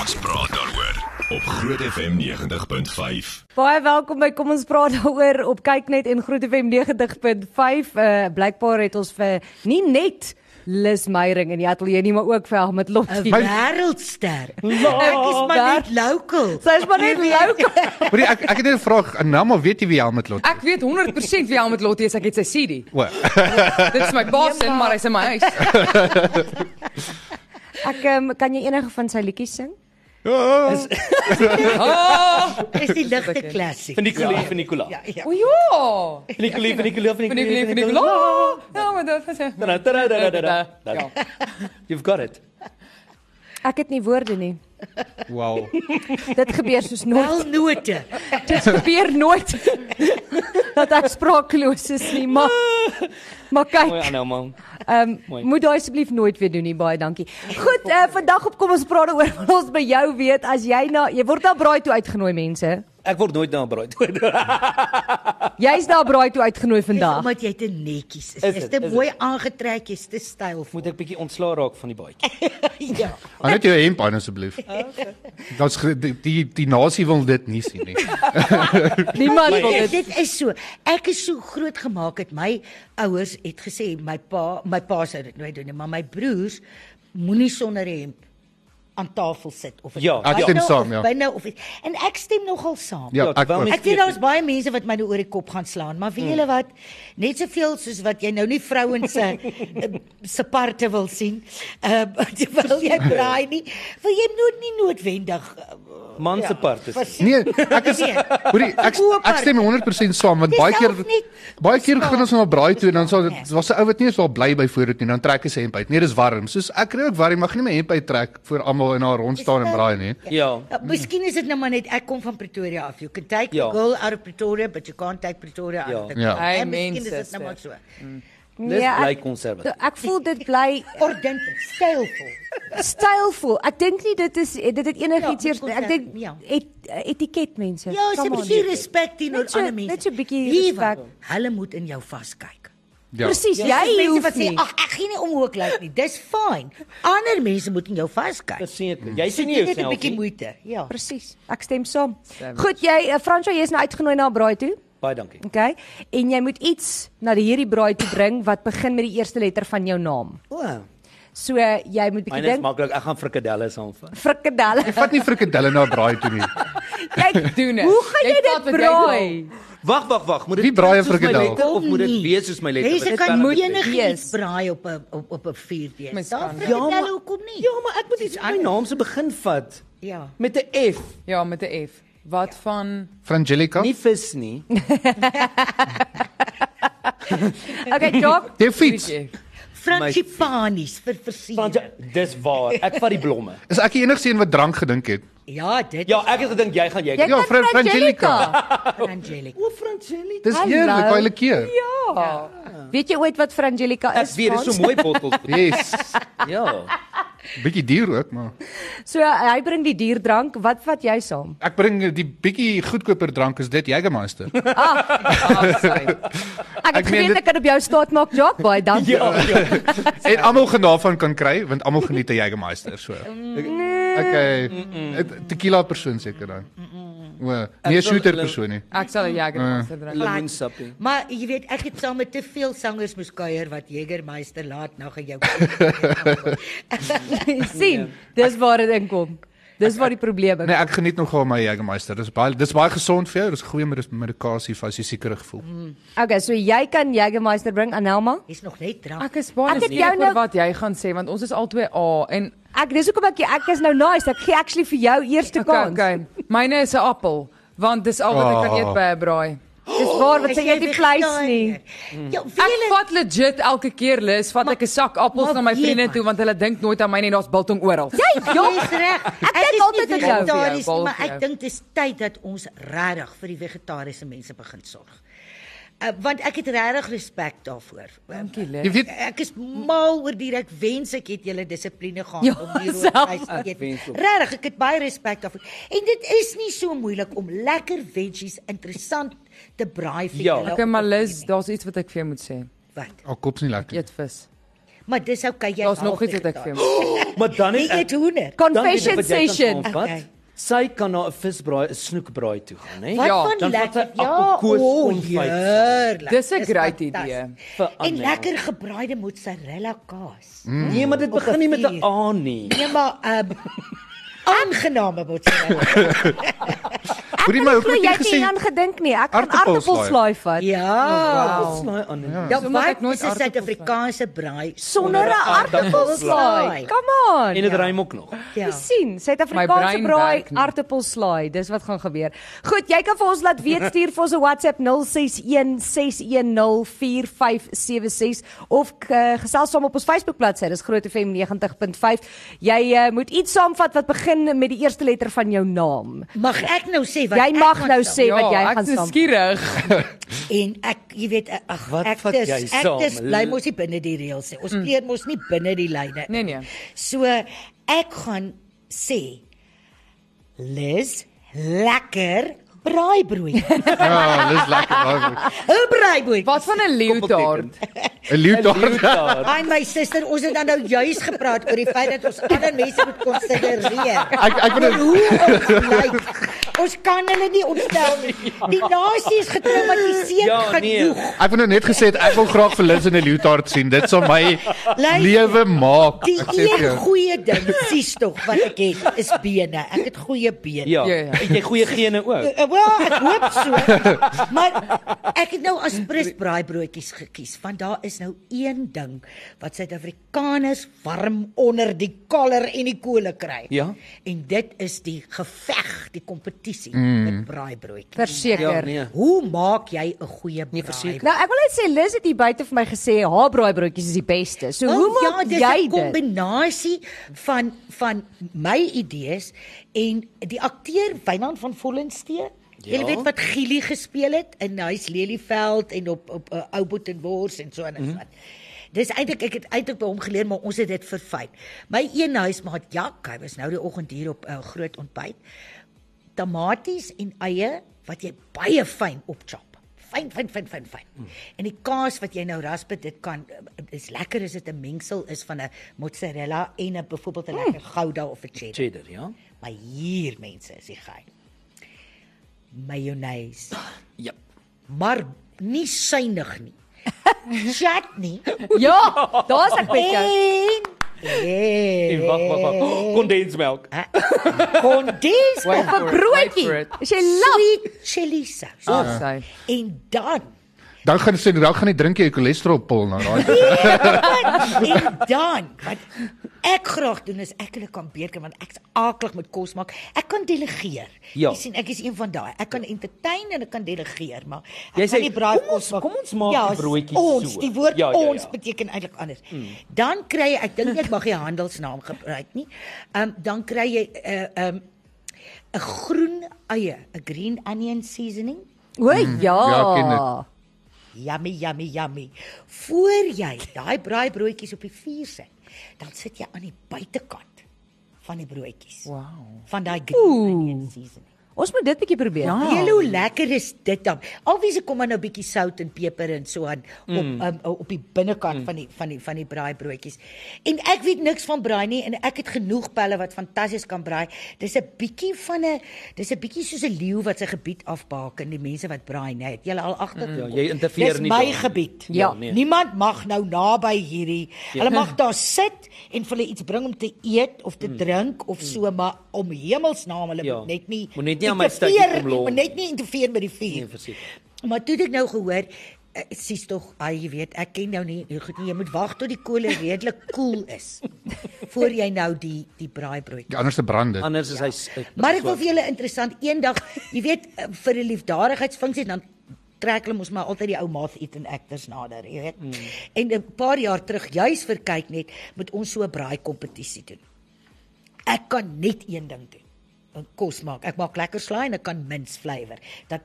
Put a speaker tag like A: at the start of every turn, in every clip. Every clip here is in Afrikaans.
A: Ons praat daaroor op Groot FM 90.5.
B: Baie welkom by Kom ons praat daaroor op kyk net en Groot FM 90.5. Uh blykbaar het ons vir nie net Lis Meyering in die ateljee nie, maar ook vir Helmut Lotfi.
C: 'n wêreldster. Ek is maar
B: Waar-
C: net Nee, local.
B: Sy is maar net leuk.
D: Maar ek ek het net 'n vraag, en nou maar weet jy wie Helmut Lot?
E: Ek weet 100% wie Helmut Lotte is. Ek het sy CD.
D: O,
E: Dit is my baas
B: Nee,
E: in, maar hy's in my huis.
B: Ek um, kan jy enige van sy liedjies sing?
E: Ah.
C: Dis die ligte klassiek.
F: Van Nicola, van Nicola. Ja.
E: O ja.
F: Nicola, van Nicola, van
E: Van die
F: Nicola,
E: lief, van die lief. Ja, maar dit is hy.
F: Da, da, da, da, da, da, da.
E: Ja.
F: You've got it.
B: Ek het nie woorde nie.
D: wow.
B: Dit gebeur soos nooit.
C: Wel note.
B: Dit gebeur nooit dat ek spraakloos is nie, maar maar
C: Oh ja.
F: Mooi
B: kyk,
F: aanhou man.
B: ehm um,
F: mooi.
B: moet daai asseblief nooit weer doen nie. Baie dankie. Goed, uh, vandag op kom ons praat daaroor wat ons by jou weet as jy na jy word na braai toe uitgenooi mense.
F: Ek word nooit na 'n braai toe.
B: Jy's daar braai toe uitgenooi
C: Dis
B: vandag.
C: omdat jy te netjies is.
F: Is
C: Jy's
F: het,
C: te
F: is
C: mooi aangetrek, jy's te stylvol.
F: Moet ek bietjie ontslaa raak van die baadjie.
C: Ja.
D: Hou net jou hemp aan asseblief. Dit's ge- die die, die nasie wil dit nie sien nie.
B: Niemand wil
C: Dit,
B: dit.
C: Ja, dit is so. Ek is so groot gemaak het my ouers het gesê my pa, my pa sou dit nooit doen nie, maar my broers moenie sonder hemp aan tafel sit of
F: Ja,
C: buite
D: ek stem saam,
C: of
D: ja.
C: binne of iets. En ek stem nogal saam.
D: Ja,
F: Ja,
D: ek
F: terwyl
D: ook.
F: mens-
C: Ek weet daar's baie mense wat my nou oor die kop gaan slaan, maar weet
F: Hmm.
C: julle wat? Net soveel soos wat jy nou nie vrouens se eh, se parte wil sien. Ehm uh, wil jy braai nie, wil jy moet nie noodwendig uh,
F: Man se part is.
C: vers-
D: Nee, ek is hoorie, ek ek stem 100% saam want
C: Dis
D: baie
C: self
D: keer
C: nie
D: baie keer gaan ons na 'n braai toe en dan sal
C: Nee.
D: dit was 'n ou wat nie eens daar bly by vooruit nie, dan trek hy sy hemp uit. Nee, dis warm. Soos ek kry ook warm, mag nie my hemp uittrek voor almal in haar rond staan en braai nie.
F: Ja.
C: Uh, miskien is dit nou maar net ek kom van Pretoria af. You can take ja.
F: Ja.
C: the girl out of Pretoria, but you can't take Pretoria out
F: Ja.
C: of the
D: Ja.
C: girl.
E: Hey,
C: En miskien is dit
E: mense,
C: nou maar so.
F: Dis
B: ek-
F: bly konservatief.
B: Ek voel dit bly
C: Ordentlik, stylvol.
B: stylvol. Ek dink nie dit is dit het enigiets
C: Ja,
B: eers ek dink
C: ja.
B: et, etiket mense.
C: Ja, so
B: Come
C: 'n
B: on.
C: bietjie respek teenoor
B: Net so-
C: ander mense.
B: net so 'n bietjie
C: Wie
B: respek.
C: wat, Hulle moet in jou vaskyk.
D: Ja.
B: Presies,
C: Ja,
B: jy
C: mense
B: hoef
C: wat sê
B: nie.
C: ag ek gee nie om hoe ek lyk nie. Dis fyn. Ander mense moet in jou vaskyk.
F: Verseker. Jy sien nie
C: Dit is net 'n bietjie
F: jouself. nie.
C: moeite. Ja.
B: Presies. Ek stem saam. Goed, jy eh, Fransjo, jy is nou uitgenooi na 'n braai toe.
F: Baie dankie.
B: Okay? En jy moet iets na die hierdie braai toe bring wat begin met die eerste letter van jou naam.
F: O.
B: So eh, jy moet bietjie
F: Myne is
B: dink.
F: maklik. Ek gaan frikadelle saamvat.
B: Frikadelle.
D: Vat nie frikadelle na 'n braai toe nie.
B: Jy
E: Doen dit.
B: Hoe gaan
E: Jy
B: jy dit
E: vat wat jy wil.
B: braai?
F: Wag, wag, wag. Moet dit
D: Wie braai 'n
F: soos my
D: frikadel?
F: letter of moet dit
C: nie.
F: wees soos my letter?
C: Mense
F: Dit
C: kan
F: moet
C: enigiets
B: wees.
C: braai op 'n op, op 'n vuur wees.
E: Mens
C: Daar
E: kan.
F: Ja, maar-
C: vertel hoekom nie.
F: Ja, maar ek moet iets aan my naam se begin vat.
C: Ja.
F: Met 'n F,
E: Ja, met 'n F. Wat
B: Ja.
E: van
D: Frangelica.
F: nie vis nie.
B: Okay, Job.
D: Jy fiets.
C: Frangipanies vir
F: Want ja,
C: versiering.
F: dis waar. Ek vat die blomme.
D: Is ek die enigste een wat drank gedink het?
C: Ja, dit
F: Ja,
C: ja.
F: ek het gedink jy gaan
B: Jy
F: jy.
D: Ja,
B: kan
D: Fra- Frangelica.
C: is Frangelic.
F: O, Franchelli.
D: Dis
B: Hallo.
D: eerlik, baie lekker.
B: Weet jy ooit wat Frangelica
F: Ek
B: is?
F: weet dis
B: Frans?
F: so mooi bottels.
D: Yes.
F: Ja.
D: Bietjie duur ook, maar
B: So uh, hy bring die dierdrank. Wat vat jy saam?
D: ek bring die bietjie goedkoper drank is dit Jägermeister.
B: Ek het
D: Ek meen
B: geweet
D: dit-
B: ek kan op jou staat maak, Job. Baie dankie.
F: Ja.
D: en almal gaan daarvan kan kry want almal geniet 'n Jägermeister so.
B: Nee.
D: Okay. Het- Tequila persoon seker dan. O, nie 'n shooter persoon nie.
E: Ek sal 'n Jager
D: Ja.
E: monster drink.
F: Lemoensappie.
C: Maar jy weet ek het saam met te veel sangers moes kuier wat Jägermeister laat nag aan jou.
B: sien, dis waar dit inkom. Dis waar die probleem
D: Nee,
B: is.
D: ek geniet nogal my Jägermeister. Dis baie dis baie gesond vir jou. Dis goeie med- medikasie vir as jy siekerig voel.
B: Mm. Okay, so jy kan Jägermeister bring aan Helma.
C: Jy's nog net drank.
E: Ek Ah, is baie
B: Ek het
E: benieuwd
B: jou
E: oor
B: nou-
E: wat jy gaan sê want ons is albei A en
B: Ek dis hoekom ek ek is nou nice. Ek gee actually vir jou eerste kans. Okay,
E: okay. Myne is 'n appel want dis al wat ek kan
D: Ah.
E: eet by 'n braai.
B: okay. Dis waar wat sê jy die vleis nie.
C: nie. Ja,
E: Ek
C: wiele.
E: vat legit elke keer lus, vat ek 'n sak appels
C: maar
E: na my
C: weet
E: vriende
C: wat?
E: toe want hulle dink nooit aan my nie, daar's biltong oral.
B: Jy jong.
C: Jy's reg.
B: dink
C: is
B: altyd
C: nie
B: aan jou.
C: vegetaries nie,
E: Bal vir jou, bal
C: maar
E: vir
C: ek
E: jou.
C: dink dis tyd dat ons regtig vir die vegetariese mense begin sorg. Uh, want ek het regtig respek daarvoor.
E: Dankie,
B: Ja.
E: Lis.
D: Jy weet
C: Ek is mal oor dit. Ek wens ek het julle dissipline gehad
B: Ja,
C: om hier
B: self.
C: oor vleis te
F: Ek wens
C: eet.
F: ook.
C: Regtig, ek het baie respek daarvoor. En dit is nie so moeilik om lekker veggies interessant te braai vir
F: Ja.
C: julle.
E: Okay, maar
C: op-
E: Liz, daar's iets wat ek vir jou moet sê.
C: wat?
D: al kops nie lekker.
E: Eet vis.
C: maar dis okay jy
E: Daar's nog iets wat ek vir hom.
F: Maar dan
C: Nee,
F: het
C: jy
F: ek
C: het hoender.
B: Confession
F: dankie dat jy kan
B: session.
F: aanvat.
C: Okay.
F: Sy kan na 'n visbraai, 'n snoekbraai toe gaan, hè?
C: Wat
E: Ja,
C: van
F: dan vat
C: lekker. Ja,
F: sy appelkoos konfyt.
C: heerlik.
E: Dis 'n
C: Dis
E: great
C: fantasties.
E: idee
F: vir
C: En
F: aanmerking.
C: lekker gebraaide mozzarella kaas. Mm.
F: Nee, maar dit
C: Op 'n
F: begin nie met 'n
C: vuur.
F: A nie.
C: Nee, maar ehm aangename mozzarella.
D: Hoorie my,
B: Ek
D: hoekom
B: glo
D: het
B: jy
D: jy
B: het
D: gesê
B: nie aan gedink nie. Ek gaan
D: Aartappelslaai.
B: aartappelslaai vat.
C: ja.
E: Wow.
F: Slaai aan. nie.
C: Ja,
E: Omdat ek
C: wat
E: nooit
C: is 'n
E: aardappels
C: Suid-Afrikaanse braai
B: Sonder 'n aartappelslaai. Come on.
F: En dit rym ook nog.
C: Ja.
B: Jy sien,
E: My
B: Suid-Afrikaanse
E: brein
B: braai
E: werk nie.
B: aartappelslaai, dis wat gaan gebeur. Goed, jy kan vir ons laat weet stuur vir ons 'n WhatsApp 0616104576 of uh, gesels saam op ons Facebookbladsy, dis Groot FM 90.5. Jy uh, moet iets saamvat wat begin met die eerste letter van jou naam.
C: Mag ek nou sê wat
B: Jy
C: ek
B: mag
C: gaan
B: nou
C: saam-
B: sê wat jy
E: Ja,
B: gaan
E: ek is
B: saam.
E: skieurig.
C: en ek jy weet eh, ag
F: Wat
C: ek
F: vat
C: dis
F: jy
C: ek
F: saam?
C: dis bly mos nie binne die reëls nie. Ons kleer mos nie binne die lyne.
E: Nee, nee.
C: So ek gaan sê Liz lekker braaibrood.
D: Ja, dis lekker.
C: 'n Braaibrood.
E: Wat van 'n leeutaard?
D: 'n Leeuard.
F: Leeuwtaart.
C: Ai my suster, ons het dan nou juis gepraat oor die feit dat ons ander mense moet konsidereer.
D: Ek- ek wil-
C: Oor hoe ons lyk. Ons kan hulle nie ontstel nie. Die
D: Ja.
C: nasie is getraumatiseer
F: Ja, nee.
C: genoeg.
D: Ek het nou net gesê het, ek wil graag vir Liz in 'n leeuard sien. Dit sal my
C: Luister,
D: lewe maak.
C: Die
D: Ek sê vir
C: een
D: jou.
C: goeie ding, sies tog wat ek het, is bene. Ek het goeie bene.
F: Ja.
E: Ja, ja.
F: Het jy goeie gene ook? Ja,
C: Eh, Wel, ek hoop so. Maar ek het nou as prins braaibroodjies gekies, want daar is nou een ding wat Suid-Afrikaners warm onder die koller en die kole kry.
F: Ja.
C: En dit is die geveg, die kompetisie mm. met braaibroodjies.
F: Ja,
B: Verseker.
F: nee.
C: Hoe maak jy 'n goeie
F: Nee,
C: braai?
F: verseker.
B: Nou ek wil net sê Liz het hier buite vir my gesê haar braaibroodjies is die beste. So hoe
C: Wel,
B: maak jy
C: ja, dis 'n
B: dit?
C: kombinasie van van my idees en die akteur Wynand van Vollenstein. Ja. Jy weet wat Gili gespeel het in Huis Lelieveld en op op uh, Oubot en Bors en so aan en so.
B: Mhm.
C: aan. Dis eintlik ek het eintlik by hom geleer maar ons het dit verfyn. My een huismaat Jak, hy was nou die oggend hier op 'n uh, groot ontbyt. Tamaties en eie wat jy baie fyn opchop. Fyn, fyn, fyn, fyn, fyn. Mm. En die kaas wat jy nou rasp, dit kan eh, is lekker as dit 'n mengsel is van 'n mozzarella en 'n byvoorbeeld 'n mm. lekker gouda of 'n cheddar.
F: Cheddar, ja.
C: Maar hier mense is die geheim. Mayonnaise,
F: Ja.
C: maar nie suinig nie. Chutney.
F: Oh
B: Ja, daar's ek bietjie.
C: en
F: En wag, wag, wag.
C: Ja.
F: Kondensmelk.
C: kondens
B: Op 'n
E: Wait for it, wait
B: broodjie.
E: for it.
B: As jy love
C: sweet chili sauce.
E: Ah, sy.
C: En dan
D: Dan gaan sê dan gaan jy drink jy jou cholesterolpil nou, daai.
C: en dan wat ek graag doen is ek hulle kan beker want ek's aaklig met kos maak. Ek kan delegeer.
F: Ja.
C: Jy sien ek is een van daai. Ek kan entertain en ek kan delegeer, maar
F: Jy
C: ek
F: sê,
C: kan nie braai
F: "Kom ons-
C: kos maak."
F: kom ons maak
C: ja,
F: die
C: is
F: broodjies
C: ons,
F: so.
C: Die woord
F: Ja, ja, ja. Hmm.
C: ons beteken eintlik anders. Dan kry jy ek dink ek mag nie handelsnaam gebruik nie. Ehm um, dan kry jy 'n uh, ehm um, 'n groen eie, 'n green onion seasoning.
B: O ja.
D: Ja, ken dit.
C: Yummy, yummy, yummy. Voor jy daai braaibroodjies op die vuur sit, dan sit jy aan die buitekant van die broodjies.
E: Wow.
C: Van daai green onion seasoning.
B: Ons moet dit bietjie probeer.
E: Ja.
C: Weet julle hoe lekker is dit dan? Alwiese kom maar nou 'n bietjie sout en peper en so aan op
F: Mm.
C: um, op die binnekant van die van die van die braaibroodjies. En ek weet niks van braai nie en ek het genoeg pelle wat fantasties kan braai. Dis 'n bietjie van 'n dis 'n bietjie soos 'n leeu wat sy gebied afbaken, die mense wat braai, nee, het julle al agter?
F: Ja, jy interfereer
C: Dis
F: nie
C: my
F: daar nie.
C: gebied. Ja,
F: Ja, nee. Ja.
C: nee. Niemand mag nou naby hierdie. Hulle mag daar sit en vir hulle iets bring om te eet of te
F: Mm.
C: drink of so, maar om hemelsnaam hulle
F: Ja.
C: moet net nie
F: Moet net nie aan my stuitjie
C: interfereer
F: kom
C: nie,
F: lol.
C: Moet net nie interfereer met die
F: Nee,
C: vuur.
F: verseker.
C: maar toe het ek nou gehoor eh, sies tog, ai jy weet, ek ken jou nie goed nie. Jy moet wag tot die kolle redelik koel is voor jy nou die die braaibrood
D: Die anderste brand dit.
F: Anders is hy s- eh,
C: Ja. Maar ek wil
F: swart.
C: vir julle interessant eendag, jy weet, eh, vir 'n liefdadigheidsfunksie dan trek hulle mos maar altyd die ou math eaten actors nader, jy weet. Mm. En 'n paar jaar terug, juis vir kyk net, moet ons so 'n braai kompetisie doen. Ek kan net een ding doen. 'n Kos maak. Ek maak lekker slaai en ek kan mince flavour. Dat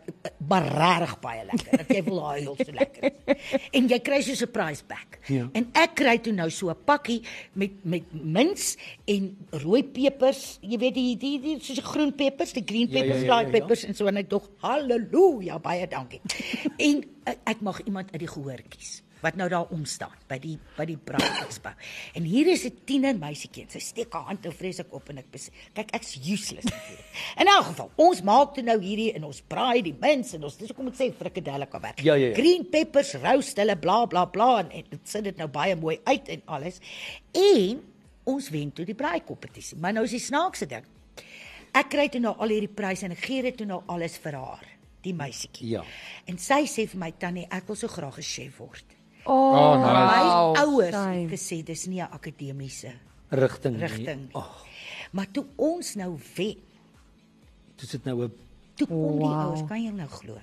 C: maar regtig baie lekker. Dat jy wil huil so lekker. is. En jy kry so 'n surprise pack.
F: Ja.
C: En ek kry toe nou so 'n pakkie met met mince en rooi pepers, jy weet die die, die soos die groen pepers, die green
F: Ja, ja,
C: pepper,
F: ja,
C: black
F: ja, ja.
C: peppers en so eh, en ek dog, "Halleluja, baie dankie." en ek, ek mag iemand uit die gehoor kies wat nou daar om staan by die by die brandexpo. En hier is 'n tiener meisietjie. en Sy steek haar hand nou vreeslik op en ek besef, kyk ek's useless natuurlik. In elk geval, ons maak toe nou hierdie en ons braai die mins en ons dis hoekom ek sê frikadelle kan werk.
F: Ja, ja, ja.
C: Green peppers roast hulle bla bla bla en, en dit sit dit nou baie mooi uit en alles. En ons wen toe die braai kompetisie. Maar nou is die snaakse ding. Ek kry toe nou al hierdie pryse en ek gee dit toe nou alles vir haar, die meisietjie.
F: Ja.
C: En sy sê vir my tannie, ek wil so graag 'n chef word.
D: Oh, nice.
C: My
E: Wow,
C: ouers
B: same.
C: het gesê dis nie 'n akademiese
D: Nee.
F: Rigting. nie.
C: rigting nie.
F: Ag,
D: Oh.
C: Maar toe ons nou wen,
F: dis dit nou 'n
C: toe kom wow. die
B: Wow.
C: ouers, kan jy nou glo?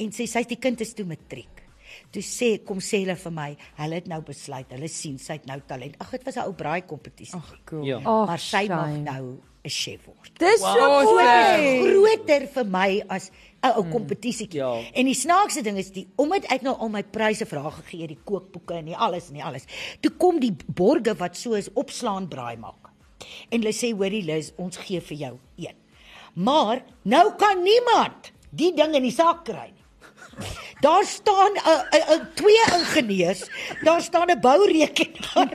C: En sê sy die kind is toe matriek. Toe sê kom sê hulle vir my, hulle het nou besluit, hulle sien sy het nou talent. Ag, dit was 'n ou braai kompetisie.
E: Ag, cool.
F: ja.
B: Oh,
C: Maar sy mag
B: shame.
C: nou 'n chef word.
B: Dis so
E: Wow,
B: mooi.
C: groter vir my as 'n ou kompetisietjie.
F: Ja.
C: En die snaakste ding is die omdat ek nou al my pryse vir haar gegee het, die kookboeke en die alles en die alles. Toe kom die borge wat so is opslaan braai maak. En hulle sê hoorie Liz, ons gee vir jou een. Maar nou kan niemand die ding in die sak kry nie. Daar staan 'n- 'n- 'n twee ingenieurs, daar staan 'n bourekenaar,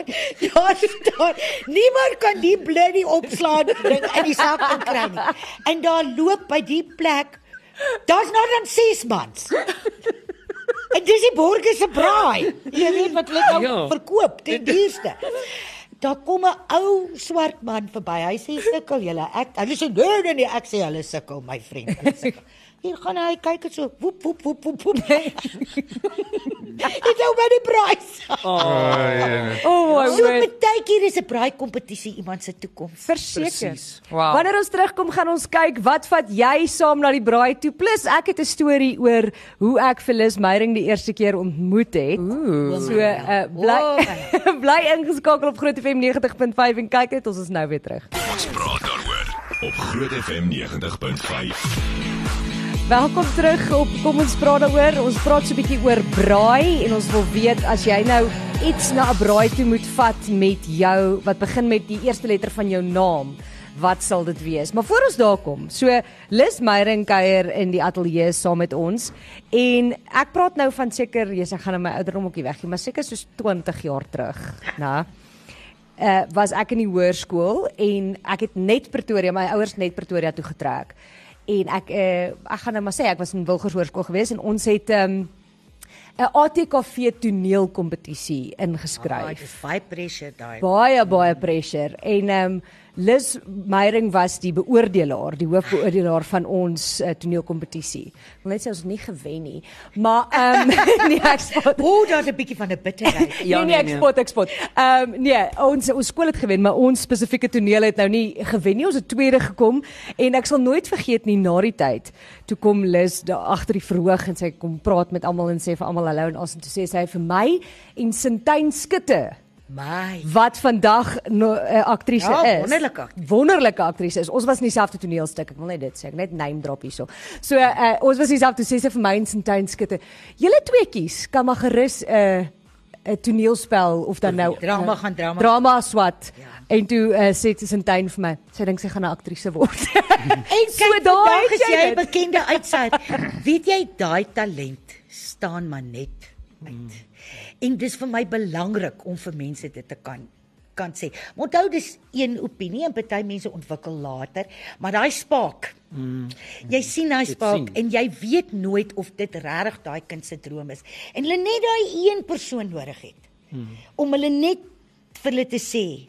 C: daar staan niemand kan die bloody opslaan ding in die sak kan kry nie. En daar loop by die plek daar's nou dan 6 mans. En dis die borgers se braai. Jy weet wat hulle nou
F: Ja.
C: ja. verkoop ten duurste. Daar kom 'n ou swart man verby. Hy sê sukkel julle. Ek hulle sê nee nee nee, ek sê hulle sukkel my vriend. Hulle sukkel. Hier gaan hy kyk dit so woep woep woep woep woep. Dit hou by die prys.
D: Oh,
B: Oh my
C: So
B: word.
C: baie keer is 'n braai kompetisie iemand se toekoms.
B: Verseker.
F: Presies.
E: Wow.
B: Wanneer ons terugkom gaan ons kyk wat vat jy saam na die braai toe. Plus ek het 'n storie oor hoe ek vir Lis Meyering die eerste keer ontmoet het. Ooh. So uh, bly bly ingeskakel op Groot FM 90.5 en kyk net ons is nou weer terug.
A: Ons praat daaroor op Groot FM 90.5.
B: Welkom terug op Kom ons praat daaroor. Ons praat so 'n bietjie oor braai en ons wil weet as jy nou iets na 'n braai toe moet vat met jou wat begin met die eerste letter van jou naam. Wat sal dit wees? Maar voor ons daar kom. So Lis Meyering kuier in die ateljee saam met ons en ek praat nou van seker, jy's ek gaan nou my ouderdom ookie weggie, maar seker soos 20 jaar terug, né? uh, was ek in die hoërskool en ek het net Pretoria, my ouers net Pretoria toe getrek. En ek uh, ek gaan nou maar sê ek was in Wilgers Hoërskool gewees en ons het 'n um, 'n ATKV toneelkompetisie
C: Daai
B: ingeskryf
C: is Ah, baie pressure daai.
B: baie baie pressure en ehm um, Lis Meyering was die beoordelaar, die hoofbeoordelaar van ons uh, toneelkompetisie. Ek wil net sê ons het nie gewen nie, maar ehm um, nee ek spot.
C: O, daar's 'n bietjie van 'n bitterheid.
B: Ja, nee, nee, ek spot, ek spot. Ehm um, nee, ons ons skool het gewen, maar ons spesifieke toneel het nou nie gewen nie. Ons het tweede gekom en ek sal nooit vergeet nie na die tyd. Toe kom Lis daar agter die verhoog en sy kom praat met almal en sê vir almal hallo en ons en toe sê sy vir my en Sintyn Skitte
C: My.
B: wat vandag 'n no, uh, aktrise
C: Ja,
B: is.
C: wonderlike aktrise.
B: Wonderlike aktrise is. Ons was in dieselfde toneelstuk. Ek wil net dit sê. Ek net name drop hierso. So uh, ons was in dieselfde sesse vir my en Sintyn skitte. Julle tweeetjies kan maar gerus 'n uh, 'n toneelspel of dan nou
C: Drama
B: eh,
C: gaan drama.
B: Drama swat. Ja. En toe uh, sê Sintyn vir my, sy dink sy gaan 'n aktrise word. en
C: Kyk, so daai is jy 'n
B: dit.
C: bekende uitsaai. Weet jy daai talent staan maar net uit. En dis vir my belangrik om vir mense dit te kan kan sê. Maar Onthou dis een opinie en party mense ontwikkel later, maar daai spaak. Mm. Jy sien daai spaak
F: sien.
C: en jy weet nooit of dit regtig daai kind se droom is. En hulle net daai een persoon nodig het mm. om hulle net vir hulle te sê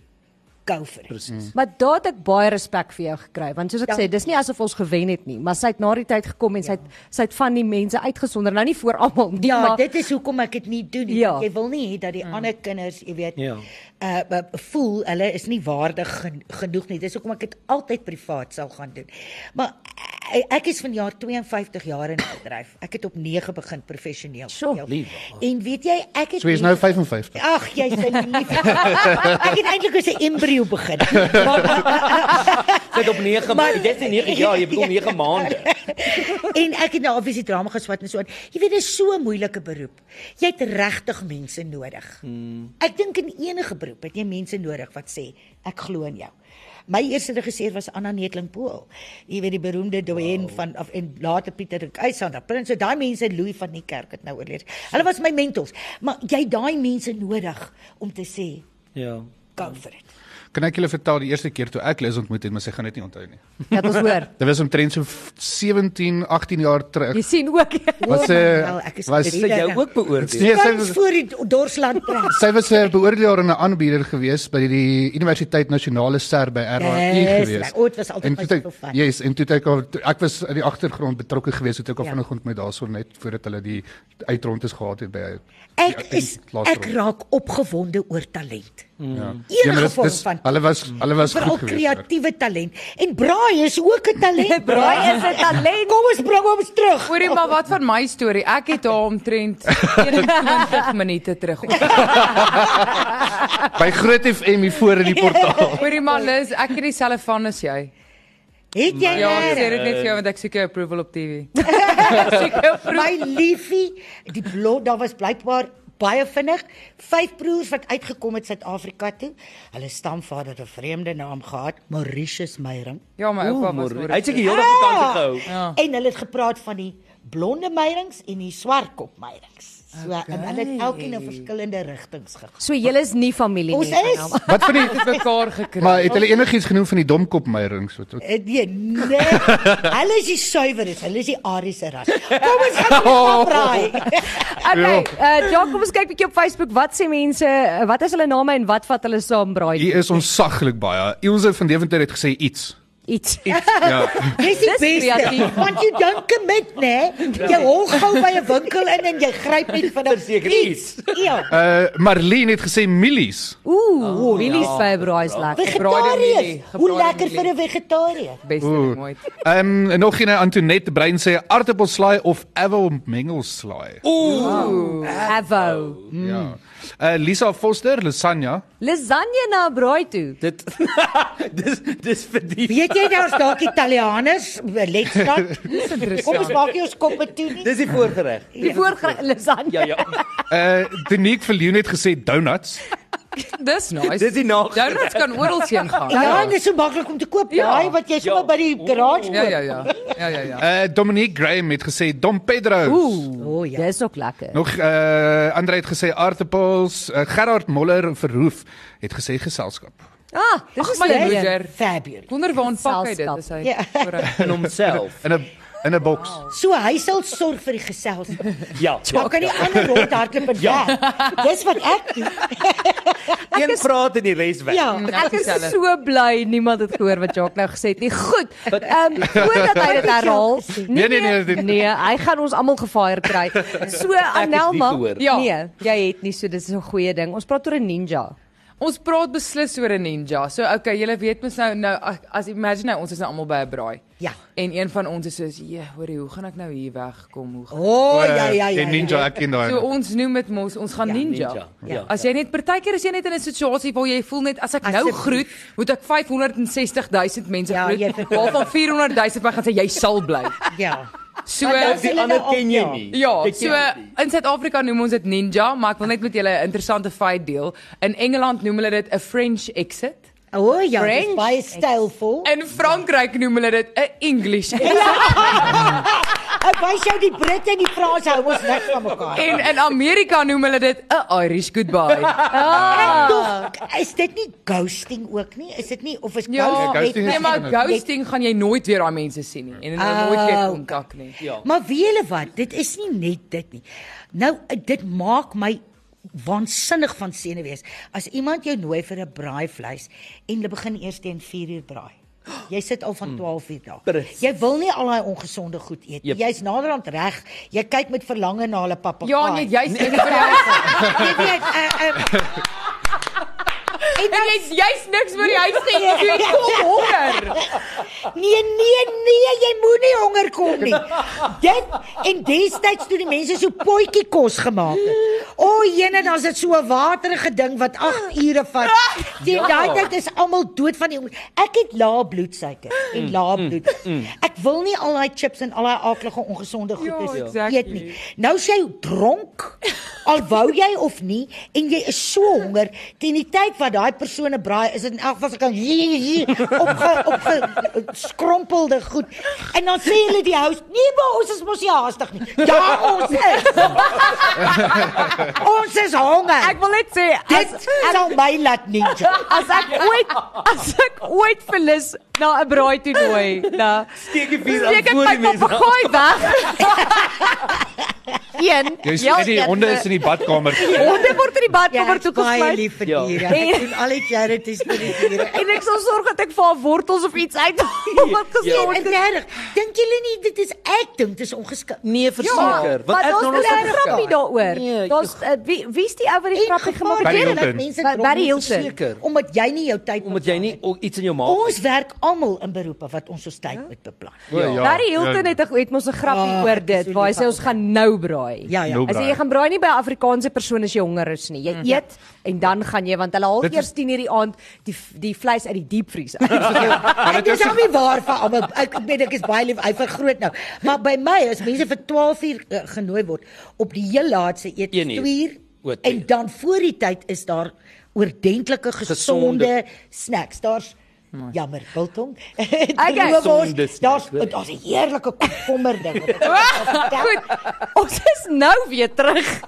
C: go vir dit.
F: Presies.
B: Maar daar het ek baie respek vir jou gekry want soos ek
C: Dankie.
B: sê dis nie asof ons gewen het nie maar sy het na die tyd gekom en sy het sy het van die mense uitgesonder nou nie voor almal nie
C: Ja, maar,
B: maar
C: dit is hoekom ek dit nie doen nie.
B: Ja.
C: want Jy wil nie hê dat die mm. ander kinders, jy weet,
F: Ja.
C: uh be- voel hulle is nie waardig gen genoeg nie. Dis hoekom ek dit altyd privaat sal gaan doen. Maar eh, ek is van jaar 52 jaar in die bedryf. Ek het op 9 begin professioneel.
B: Sjoe,
C: speel.
F: liewe.
C: En weet jy, ek het
D: so jy's nou 55.
C: Ag, jy sê nie. ek het eintlik as 'n embrio begin. Maar
F: Sit op 9
C: Maar-
F: maande. Dis nie 9 jaar, jy bedoel 9 maande.
C: en ek het nou obviously drama geswat en so aan. Jy weet dis so 'n moeilike beroep. Jy het regtig mense nodig. Hmm. Ek dink in enige beroep het jy mense nodig wat sê ek glo in jou. My eerste regisseur was Anna Netling Pool. Jy weet die beroemde doyen wow. van of en later Pieter de Keisander. Prins, so daai mense Louis van die Kerk het nou oorlede. Hulle was my mentors, maar jy daai mense nodig om te sê
F: Ja.
C: go for it.
D: Kan ek julle vertel die eerste keer toe ek Liz ontmoet het, maar sy gaan dit nie onthou nie.
B: Dat ons hoor.
D: Dit was omtrent so f- 17, 18 jaar terug.
B: Jy sien ook.
D: Was
C: wel, ek
D: 'n
C: is
D: was
F: Is dit jou ook beoordeel?
D: nee, sy
C: Tans
D: was
C: voor die Dorsland trek.
D: sy was 'n beoordelaar en 'n aanbieder gewees by die Universiteit Nasionale Ser by RAI
C: Yes,
D: gewees.
C: ek- o, dit was altyd
D: En
C: my
D: toe het ek-
C: soveel fun.
D: Yes, en toe het ek al toe- ek was in die agtergrond betrokke gewees, toe het ek al
C: Ja.
D: vinnig ontmoet daarson net voordat hulle die uitrondes gehad het by die
C: Ek is
D: laaste
C: ek
D: ronde.
C: raak opgewonde oor talent.
D: Ja.
C: enige
D: maar dis-
C: vorm
D: dis-
C: van-
D: Hulle was hulle was
C: Veral
D: goed geweest. hoor.
C: kreatiewe talent. En braai is ook 'n talent.
B: Braai is 'n talent.
C: Kom ons bring hom terug.
E: Hoorie, maar wat van my storie? Ek het haar omtrent 21 minute terug. ontmoet.
D: By Groot FM hier voor in die portaal.
E: Hoorie, maar Liz, ek het dieselfde van as jy.
C: Het jy
E: Ja, ek sê
C: ja,
E: dit net vir jou want ek soek jou approval op TV. Ek soek jou approval.
C: my liefie, die blot daar was blykbaar baie vinnig vyf broers wat uitgekom het Suid-Afrika toe. Hulle stamvader het 'n vreemde naam gehad, Mauritius Meyring.
E: Ja, my oupa was
F: Hy
E: oor.
F: het seker heeldag op
C: Ah!
F: vakansie gehou.
E: Ja.
C: En hulle het gepraat van die blonde meierings en die swartkop meierings. So okay. en hulle het elkeen in verskillende rigtings gegaan.
B: So julle is nie familie
C: Ons
B: nie.
C: is
D: Wat van die
E: mekaar gekry.
D: Maar het hulle enigiets genoem van die domkopmeierings wat ook
C: Eh, Nee, nee. Hulle is die suiweres, hulle is die Ariese ras. Kom ons gaan dit braai.
B: Okay, uh Jock, kom ons kyk bietjie op Facebook. Wat sê mense? eh, Wat is hulle name en wat vat hulle saam braai?
D: Hier is ons saglik baie. Ilse van Deventer het gesê iets.
B: Iets.
D: Ja.
C: Dis die
B: Dis
C: beste.
B: kreatief.
C: Want jy dink commit, né? Jy hol gou by 'n winkel in en jy gryp net van 'n
F: Verseker iets.
C: Ja.
D: Uh Marlene het gesê milies.
B: Ooh, Willie's by braai is lekker.
E: Gebraaide mielie,
C: Vegetariërs. Hoe
E: gebraaide
C: lekker
E: mielie.
C: vir 'n vegetariër.
E: beste ding ooit.
D: Ehm um, nog 'n Antoinette Brein sê aartappelslaai of avil mengelslaai.
B: Avo.
D: Ja. Uh Lisa Foster lasagna.
B: Lasagne na braai toe.
F: Dit dis dis vir die
C: Weet jy daar's dalk Italianers, Letland. Kom ons maak nie ons koppe toe nie.
F: Dis die voorgereg.
B: Die voorgrag lasagne.
F: Ja ja.
D: Uh Denique Viljoen het gesê donuts.
E: Dis nice.
F: Dis die nag.
E: Donuts kan oral heen gaan.
C: Ja, en dit is so maklik om te koop. Daai wat jy sommer by die garage
E: Ja, ja,
C: koop.
E: ja. Ja, ja, ja.
D: Uh Dominique Graham het gesê Dom Pedro.
B: Ooh,
C: O ja.
B: dis ook lekker.
D: Nog uh Andre het gesê aartappels. Uh, Gerard Moller verhoef het gesê geselskap.
B: Ah, dis
E: Ag
B: is
E: my
B: lekker.
E: moeder.
C: Fabulous.
E: Wonder waar ontpak hy dit as hy.
C: Ja.
E: Korrek.
F: in homself.
D: In 'n in 'n boks.
C: So hy sal sorg vir die geselskap.
F: Ja.
C: Dan kan die ander rondhardloop en
F: Ja.
C: weg. Dis wat ek doen.
F: Een praat en die res weg.
C: Ja.
B: Ek is so bly niemand het gehoor wat Jacques nou gesê het nie. Goed. Ehm um, voordat hy dit herhaal.
D: Nee, nee, nee, dit-
B: Nee, hy gaan ons almal gefire kry. So Anelma,
F: gehoor.
B: ja.
E: Ja.
B: nee, jy het nie so dis is 'n goeie ding. Ons praat oor 'n ninja.
E: Ons praat beslis oor 'n ninja. So okay, julle weet mos nou nou as- as imagine nou ons is nou almal by 'n braai.
C: Ja.
E: En een van ons is soos, "Ja, hoorie, hoe gaan ek nou hier wegkom? Hoe gaan
C: O oh, ja ja ja.
D: Eh, Oh, En ninja ek ken daai.
E: So ons noem dit mos ons gaan
C: Ja,
E: ninja.
F: ninja.
E: ninja.
F: Ja.
E: Ja. As jy net partykeer is jy net in 'n situasie waar jy voel net as ek nou
C: Asseblief.
E: groet, moet ek 560 000 mense
C: Ja,
E: groet.
C: jy
E: Ja,
C: het-
E: waarvan 400 000 my gaan sê jy sal bly.
C: Ja.
E: So
C: Maar dan
F: Die ander ken jy nie.
E: Ja,
F: Jy ken
E: so
F: dit nie.
E: in Suid-Afrika noem ons dit ninja, maar ek wil net met julle 'n interessante feit deel. In Engeland noem hulle dit 'n French exit.
C: O oh, ja, dis
E: French.
C: baie stylvol.
E: In Frankryk noem hulle dit 'n English exit.
C: Ek wys jou die Britte en die Franse hou ons niks van mekaar.
E: En in Amerika noem hulle dit 'n Irish goodbye. Ja.
C: Ah. Tog is dit nie ghosting ook nie? Is dit nie of is
E: Ja,
D: Nee, ghosting
E: nee,
D: is-
E: maar ghosting gaan jy nooit weer daai mense sien nie en hulle nooit weer kontak nie.
F: Ja.
C: Maar weet julle wat, dit is nie net dit nie. Nou dit maak my waansinnig van senuwees as iemand jou nooi vir 'n braai vleis en hulle begin eers teen 4uur braai. Jy sit al van 12 uur daar.
F: Presies.
C: Jy wil nie al daai ongesonde goed eet.
F: Hmm. Jep.
C: Yep. Jy's naderhand reg. Jy kyk met verlange na hulle papegaai.
E: Ja, nee, jy sê vir jou
C: jy weet, uh, uh,
E: en jy jy's niks vir die huis te doen. Kom honger.
C: Nee, nee, nee, jy moenie honger kom nie. Dit en destyds toe die mense so potjie kos gemaak het. O, oh, jene, dan's dit so 'n waterige ding wat 8 ure vat.
E: Ja.
C: Teen daai tyd is almal dood van die honger. Ek het lae bloedsuiker en lae
E: Mm,
C: bloed. Ek wil nie al daai chips en al daai aaklige ongesonde goedes
E: Ja,
C: eet
E: exactly.
C: nie. Nou is jy dronk. Al wou jy of nie en jy is so honger teen die tyd wat daai persone braai is dit in elk geval so kan opge opge skrompelde goed. En dan sê hulle die host, nee maar ons is mos nie haastig nie. Ja, ons is. ons is honger.
B: Ek wil net sê as
C: Dit sal my laat ninja.
B: as ek ooit as ek ooit verlis na 'n braai toe nooi, da
F: Steek die vuur
B: steek
F: aan
B: ek
F: voor
B: my
F: die mense. af.
B: papegaai weg. Een. Ja,
D: Jy
C: ja,
B: heel
D: sê die honde
B: eerste.
D: is in die badkamer.
B: Honde word in die badkamer toe
C: baie
B: gesmy.
C: lief vir
F: Ja.
C: diere. Ek doen al die charities vir die diere.
B: En ek sal sorg dat ek vir haar wortels of iets uit wat
C: Ja,
B: gesond
C: en regtig, dink julle nie dit is ek dink dit is ongeskik.
B: Ja,
F: Nee, verseker, want
B: maar
F: ek
B: daar's
F: nou nog
B: wel 'n
F: so
B: grappie daaroor.
F: Nee,
B: Daar's eh, wie wie's die ou wat die grappie gemaak het?
D: Barry
C: Barry
D: Hilton.
C: Mense
B: Ba-
C: dronk
B: Barry
C: nie
B: Hilton.
F: Seker.
C: Omdat jy nie jou tyd
F: omdat jy nie
C: beplan
F: o- iets in jou
C: het.
F: maag
C: Ons werk almal in beroepe wat ons ons tyd moet beplan.
D: O, ja.
B: Barry Hilton het 'n het mos 'n grappie
C: Ah,
B: oor
C: ek is
B: dit
C: so
B: waar hy
C: lief
B: sê ons gaan nou braai.
C: Ja ja.
D: Nou,
B: As
D: braai.
B: jy gaan braai nie by 'n Afrikaanse persoon as jy honger is nie.
C: Mm.
B: Jy eet en dan gaan jy want hulle haal
D: Dit is-
B: eers 10:00 die aand die die vleis uit die diepvries uit.
C: Maar dit is nou nie waar vir almal. Ek weet ek is baie lief, hy vergroot nou. Maar by my as mense vir 12 uur eh, genooi word op die heel laatste eet
F: Een uur.
C: 2 uur
F: O, twee
C: en
F: uur.
C: dan voor die tyd is daar oordentlike gesonde,
F: Gesonde.
C: snacks. Daar's jammer, biltong.
B: Okay.
F: Gesonde
C: Daar's
F: snacks,
C: daar's
F: hoor jy.
C: 'n heerlike komkommer ding. wat ek
B: Goed. Ons is nou weer terug.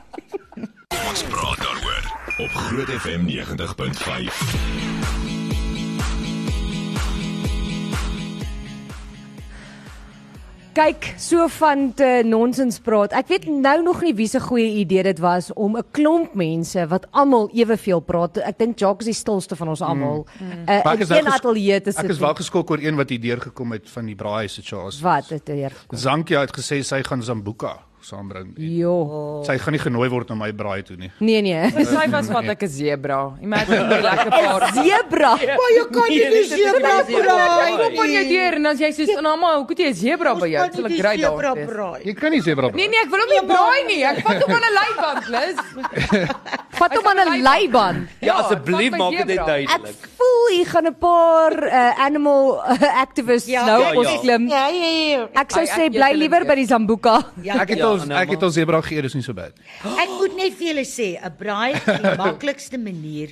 A: Ons praat daaroor op Groot FM 90.5.
B: Kyk, so van te nonsens praat. Ek weet nou nog nie wie se goeie idee dit was om 'n klomp mense wat almal eweveel praat. Ek dink Jacques is die stilste van ons almal. Uh, in
D: Maar ek is nou
B: een
D: ges-
B: ateljee te sit.
D: Ek is wel geskok oor een wat hier deurgekom het van die braai situasie.
B: Wat het hier?
D: Zankia het gesê sy gaan Zambuka saambring.
B: Jo.
D: Sy gaan nie genooi word na my braai toe nie.
B: Nee nee.
E: Sy was wat ek 'n zebra. Imagine 'n lekker paar.
B: Zebra.
C: Maar jy kan nie die zebra braai
E: Kom op aan jou deur en dan jy sê soos, "Nou maar, hoe kom jy 'n zebra by jou?" Sal ek ry daar.
C: braai.
D: Jy kan nie sebra braai.
E: Nee nee, ek wil hom nie braai nie. Ek vat hom aan 'n leiband, Lis.
B: Vat hom aan 'n leiband.
F: Ja,
E: Ja,
F: asseblief
E: vat my
F: maak dit
E: zebra.
B: Ek
F: duidelik.
B: voel hier gaan 'n paar uh, animal uh, activists ja,
C: Ja,
B: nou
F: ja,
B: op ons
F: ja.
B: klim.
C: Ja, ja, ja.
B: Ek sou
E: Ai, ek
B: sê
E: eet
B: bly
E: hulle
B: liewer
E: weer.
B: by die Zambuka.
C: Ja,
D: Ek het
F: Ja,
D: al
F: nou
D: ek het al sebra geëet, dis nie so bad.
C: Ek moet net vir julle sê, 'n braai is die maklikste manier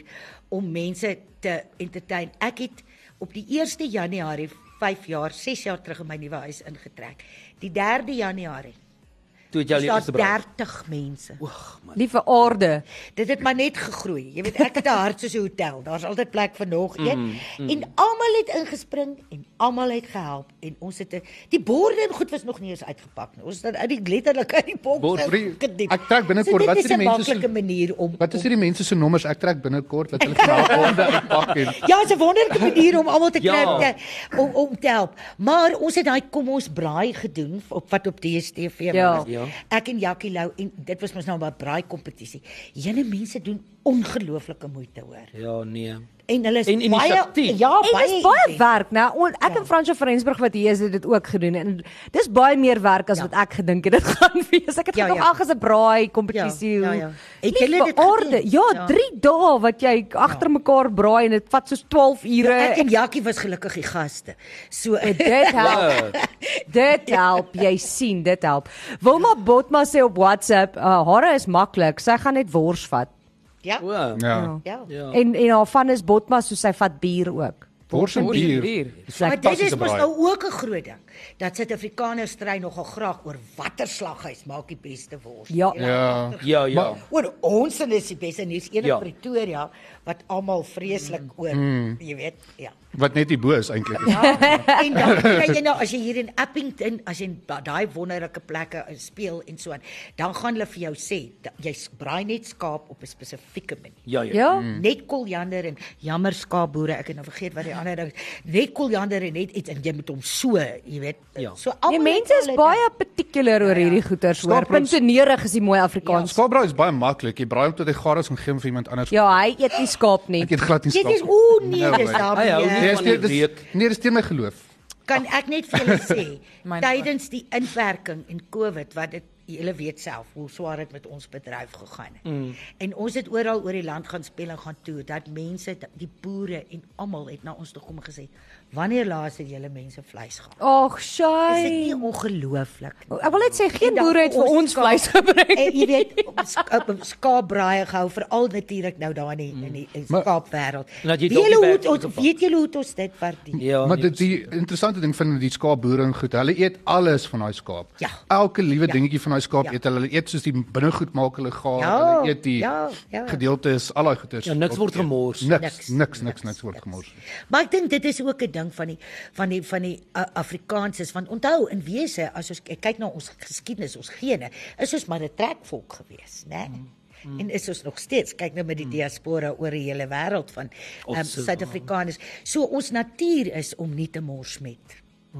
C: om mense te entertain. Ek het op die 1 Januarie 5 jaar, 6 jaar terug in my nuwe huis ingetrek. Die 3de Januarie.
F: Toe het jy
C: Ja,
F: al die eerste
C: daar
F: braai.
C: 30 mense.
B: Liewe aarde.
C: Dit het maar net gegroei. Jy weet, ek het 'n hart soos 'n hotel. Daar's altyd plek vir nog een. Mm, mm. En almal het ingespring en almal het gehelp en ons het 'n- die borde en goed was nog nie eens uitgepak nie. Ons het uit die letterlik uit die boks
F: Bord-
C: uitgediep.
D: Ek trek binnekort, wat
C: dit
D: sê die mense
C: Is 'n maklike manier om
D: Wat is hierdie mense se nommers? Ek trek binnekort dat hulle vanaand honde uitpak en
C: Ja, is 'n wonderlike manier om almal te
F: Ja.
C: kry te om, om te help. Maar ons het daai kom ons braai gedoen op wat op DStv
B: Ja.
C: was.
F: Ja.
C: Ek en Jackie Lou en dit was mos nou 'n braai kompetisie. Jene mense doen ongelooflike moeite hoor.
F: Ja, nee.
C: En hulle is
F: En
C: baie
F: inisiatief.
C: ja,
B: En
C: baie Ja.
B: dis baie
C: inventief.
B: werk, né? Nou, ek en Fransjo Frensburg wat hier is, het dit ook gedoen en dis baie meer werk as ja. wat ek gedink het dit gaan wees. Ek het
C: Ja,
B: gedog
C: ja.
B: ag as 'n braai kompetisie.
C: Ja, ja, ja.
B: Het
C: Het julle dit
B: aarde?
C: gedoen?
B: Ja,
C: Ja.
B: 3 dae wat jy agter mekaar braai en dit vat soos 12 ure.
C: Ja, Ek en Jackie was gelukkig die gaste. So eh,
B: Dit help. dit help, jy sien, dit help. Wilma
C: Ja.
B: Botma sê op WhatsApp, uh, hare is maklik, sy gaan net wors vat.
C: ja.
F: O.
D: ja.
C: Ja.
F: Ja.
B: En en haar van is Botma soos sy vat bier ook.
D: Wors en bier.
B: Dis
C: Maar dit is
D: Fantastiese
C: mos
D: braai.
C: nou ook 'n groot ding dat Suid-Afrikaners stry nogal graag oor watter slaghuis maak die beste wors.
B: Ja.
D: Ja.
F: Ja, ja.
D: Maar-
C: Oor ons en is die beste nuus een in
F: Ja. Mm.
C: Pretoria wat almal
B: Mm.
C: vreeslik oor, jy weet, ja.
D: Wat net die bo is eintlik.
C: En dan kry jy nou as jy hier in Appington, as jy in da- daai wonderlike plekke uh, speel en so aan, dan gaan hulle vir jou sê da- jy s- braai net skaap op 'n spesifieke manier.
F: Ja, ja.
B: Ja.
C: Net koljander en jammer skaapboere, ek het nou vergeet wat die ander ding is. Net koljander en net iets en jy moet hom so, jy weet,
F: Ja.
C: so
B: Die
C: almal
B: Nee, mense is
C: hulle-
B: baie particular oor hierdie goeters hoor.
D: Skaapbrons-
B: Puntenerig is die mooi Afrikaans.
D: Skaapbraai is baie maklik. Jy braai hom tot hy gaar is en gee hom vir iemand anders.
B: Ja, hy eet nie skaap nie.
D: Ek het glad nie
C: Dit
D: skaap.
C: is o nee, dis
D: way.
C: daar.
F: Hy hou nie
C: weer.
D: Nee, dis
F: Van die
D: dis-
F: week.
D: nee, dis teen my geloof.
C: kan ek net vir julle sê
E: Myne
C: tydens die inperking en COVID wat dit julle weet self hoe swaar dit met ons bedryf gegaan het. Mm. En ons het oral oor die land gaan speel en gaan toer dat mense die boere en almal het na ons toe kom en gesê wanneer laas het julle mense vleis gehad?
B: Ag,
C: Is dit nie
B: shay.
C: ongelooflik nie?
B: Ek wil net sê geen
C: En dan
B: boere het vir
C: ons
B: ons vleis gebring.
C: En Eh, jy weet, eh, skaapbraaie gehou veral natuurlik nou daar in die- in die in die
D: Maar-
C: skaapwêreld.
F: Laat jy
C: Weet julle
F: donkie
C: hoe
F: werk
C: ons
F: ook op.
C: weet julle hoe het ons dit verdien?
F: Ja.
D: Maar dit die interessante ding van die skaapboere en goed, hulle eet alles van daai skaap.
C: Ja.
D: Elke liewe
C: Ja.
D: dingetjie van daai skaap
C: Ja.
D: eet hulle. Hulle eet soos die binnegoed maak hulle gaar.
C: Ja,
D: hulle eet die
C: ja, ja.
D: gedeeltes, al daai goeders.
F: Ja, niks word gemors.
D: Niks, niks, niks, niks word gemors.
C: Maar ek dink dit is ook 'n ding van die van die van die uh, Afrikaanses want onthou in wese as ons ek kyk na ons geskiedenis, ons gene, is ons maar 'n trekvolk gewees, né? Mm. En is ons nog steeds kyk nou met
D: Mm.
C: die diaspora oor die hele wêreld van ehm,
F: Ons-
C: Suid-Afrikaners. so ons natuur is om nie te mors met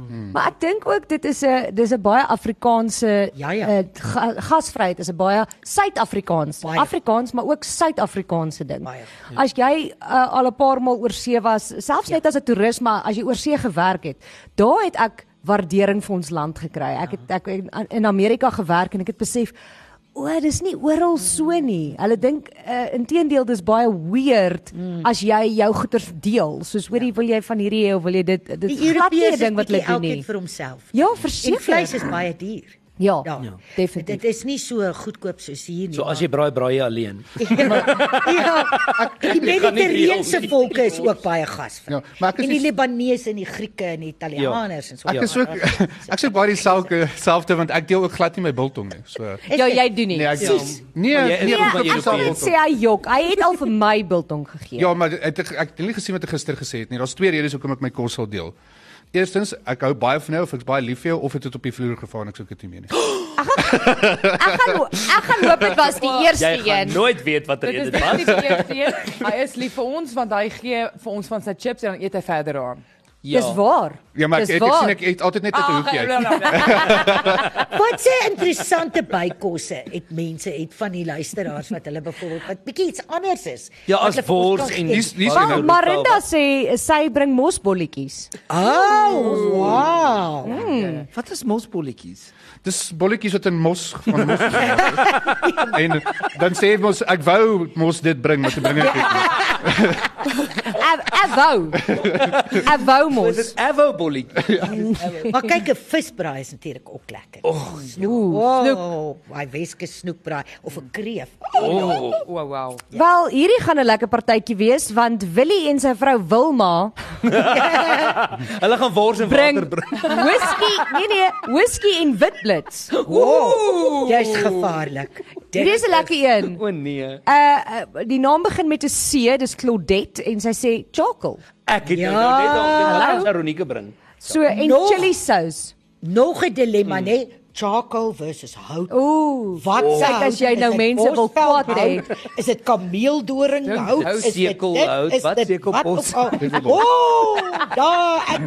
C: Hmm.
B: Maar ek dink ook dit is 'n dis 'n baie Afrikaanse
C: Ja, ja.
B: eh, ga, gasvryheid is 'n baie Suid-Afrikaans,
C: Baie.
B: Afrikaans, maar ook Suid-Afrikaanse ding.
C: Baie, Ja.
B: As jy uh, al 'n paar maal oorsee was, selfs net as 'n toerist, maar as jy oorsee gewerk het, daar het ek waardering vir ons land gekry.
C: Ja.
B: Ek het ek in, in Amerika gewerk en ek het besef O, dis nie oral so
C: Hmm.
B: nie. Hulle dink uh, inteendeel dis baie weird
C: Hmm.
B: mm. as jy jou goeder deel. Soos hoorie
C: Ja.
B: wil jy van hierdie hê of wil jy dit dit
C: Die
B: is glad nie 'n
C: Europese
B: ding wat hulle doen nie.
C: elkeen vir homself.
B: Ja,
C: En
B: verseker.
C: vleis is baie duur.
B: Ja,
C: Ja,
B: ja, definitief.
C: Dit is nie so goedkoop soos hier nie.
F: So as jy braai braai alleen.
C: ja, die
F: gaan nie
C: Mediterrane
F: reël nie.
C: volke is ook baie gasvry.
D: Ja, maar ek is
C: en die
D: nie-
C: Libanese en die Grieke en die Italianers en so. Ja.
D: Ek is ook ek sê baie dieselfde selfde want ek deel ook glad nie my biltong nie. So
B: Ja, jy doen nie.
D: nee, ek deel,
F: Sis.
D: nee,
F: Maar jy is
D: nee,
F: ook
D: ek
F: maar
D: deel
B: Ek
D: self
B: sal
F: Europeër.
B: net
D: biltong.
B: sê hy jok. Hy het al vir my biltong gegee.
D: Ja, maar het, ek ek het nie gesien wat ek gister gesê het nie. Daar's twee redes hoekom ek my kos sal deel. Eerstens, ek hou baie van jou of ek's baie lief vir jou of het dit op die vloer gevaar en ek sou dit nie meer nie.
B: Ek gaan ek gaan hoop dit was die eerste
F: Jy gaan
B: een.
F: nooit weet watter
E: Dit
F: een
E: is
F: dit was.
E: nie die eerste een. Hy is lief vir ons want hy gee vir ons van sy chips en dan eet hy verder aan.
B: Dis waar.
D: Ja, maar ek
B: Dis
D: het gesien
B: waar.
D: ek eet altyd net uit 'n
E: Ah,
D: hoekie uit.
C: Wat se interessante bykosse het mense het van die luisteraars wat hulle byvoorbeeld wat bietjie iets anders is.
F: Ja,
C: wat
F: as
C: hulle vir ons
F: wors
C: kan
F: en
C: gee.
D: Hier's hier's
B: Ah, Maar
D: nou.
B: Marinda sê sy bring mosbolletjies.
C: Oh, wow.
F: Wat is mosbolletjies?
D: Dis bolletjies wat in mos van mos. en dan sê mos ek wou mos dit bring, maar dit bring ek dit nie.
B: Ek ek wou. Ek wou mos.
F: Avo bolletjie.
C: Maar kyk 'n visbraai is natuurlik ook lekker. Oh, snoek. Oh, hy weske snoekbraai of 'n kreef.
E: Oh, wow, wow.
B: Wel, hierdie gaan 'n lekker partytjie wees want Willie en sy vrou Wilma
F: Hulle gaan wors en
B: bring
F: water bring.
B: whisky, nee nee, whisky en witblits.
C: Ooh, jy's gevaarlik.
B: Hierdie is 'n lekker een.
F: O nee.
B: Uh, uh die naam begin met 'n C, dis Claudette en sy sê chocolate.
F: Ek het
C: Ja.
F: ja. nou net al
B: Hallo?
F: dit is ironieke bring.
B: So en
C: Nog-
B: chili sous.
C: Nog 'n dilemma, mm. né? Charcoal versus hout.
B: Ooh. Kyk,
C: Wat hout?
B: as jy
C: Is
B: nou
C: dit
B: mense wil
C: bosveld
B: kwaad hê.
C: hout? Is dit kameeldoring
F: Dink
C: hout?
F: hou
C: Is dit
F: sekel
C: dit?
F: hout?
C: Is
F: Wat
C: dit
F: sekelbos?
C: wat ook al? Ooh, daar ek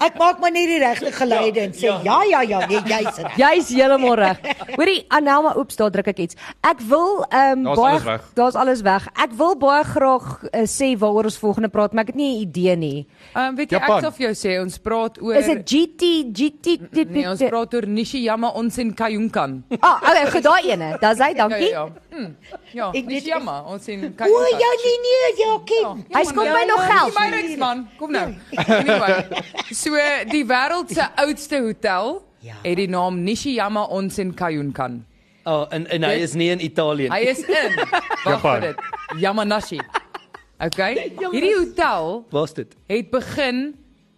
C: ek maak maar net die regte geluide en sê ja ja ja, nee, jy's reg.
B: Jy's heeltemal reg. Hoorie Anelma, oeps, daar druk ek iets. Ek wil ehm
D: Daar's
B: baie
D: alles weg.
B: daar's alles weg. Ek wil baie graag uh, sê waaroor ons volgende praat, maar ek het nie 'n idee nie.
E: Ehm um, weet jy
D: Japan.
E: ek sal vir jou sê ons praat oor
B: Is dit GT GT
E: Nee, ons praat oor Nishiyama Onsen Kayunkan.
B: Ah, oh, okay, goed daai ene. Daar's hy,
E: Ja
B: dankie.
E: ja. ja. Hm. Ja,
C: Ek weet-
E: Nishiyama Onsen
C: O ja
E: Kayunkan.
C: nee nee, ja ken.
B: Hy skop
E: Ja,
B: my nog geld.
E: My niks man, kom nou. Anyway, so die wêreld se oudste hotel
C: Ja.
E: het die naam Nishiyama Onsen Kayunkan.
F: O oh, en en hy is nie in Italië
E: Hy
F: nie.
E: is in.
B: Ja,
E: Wag
D: Japan.
E: vir dit. Yamanashi. Okay. Hierdie hotel
F: Was dit?
E: het begin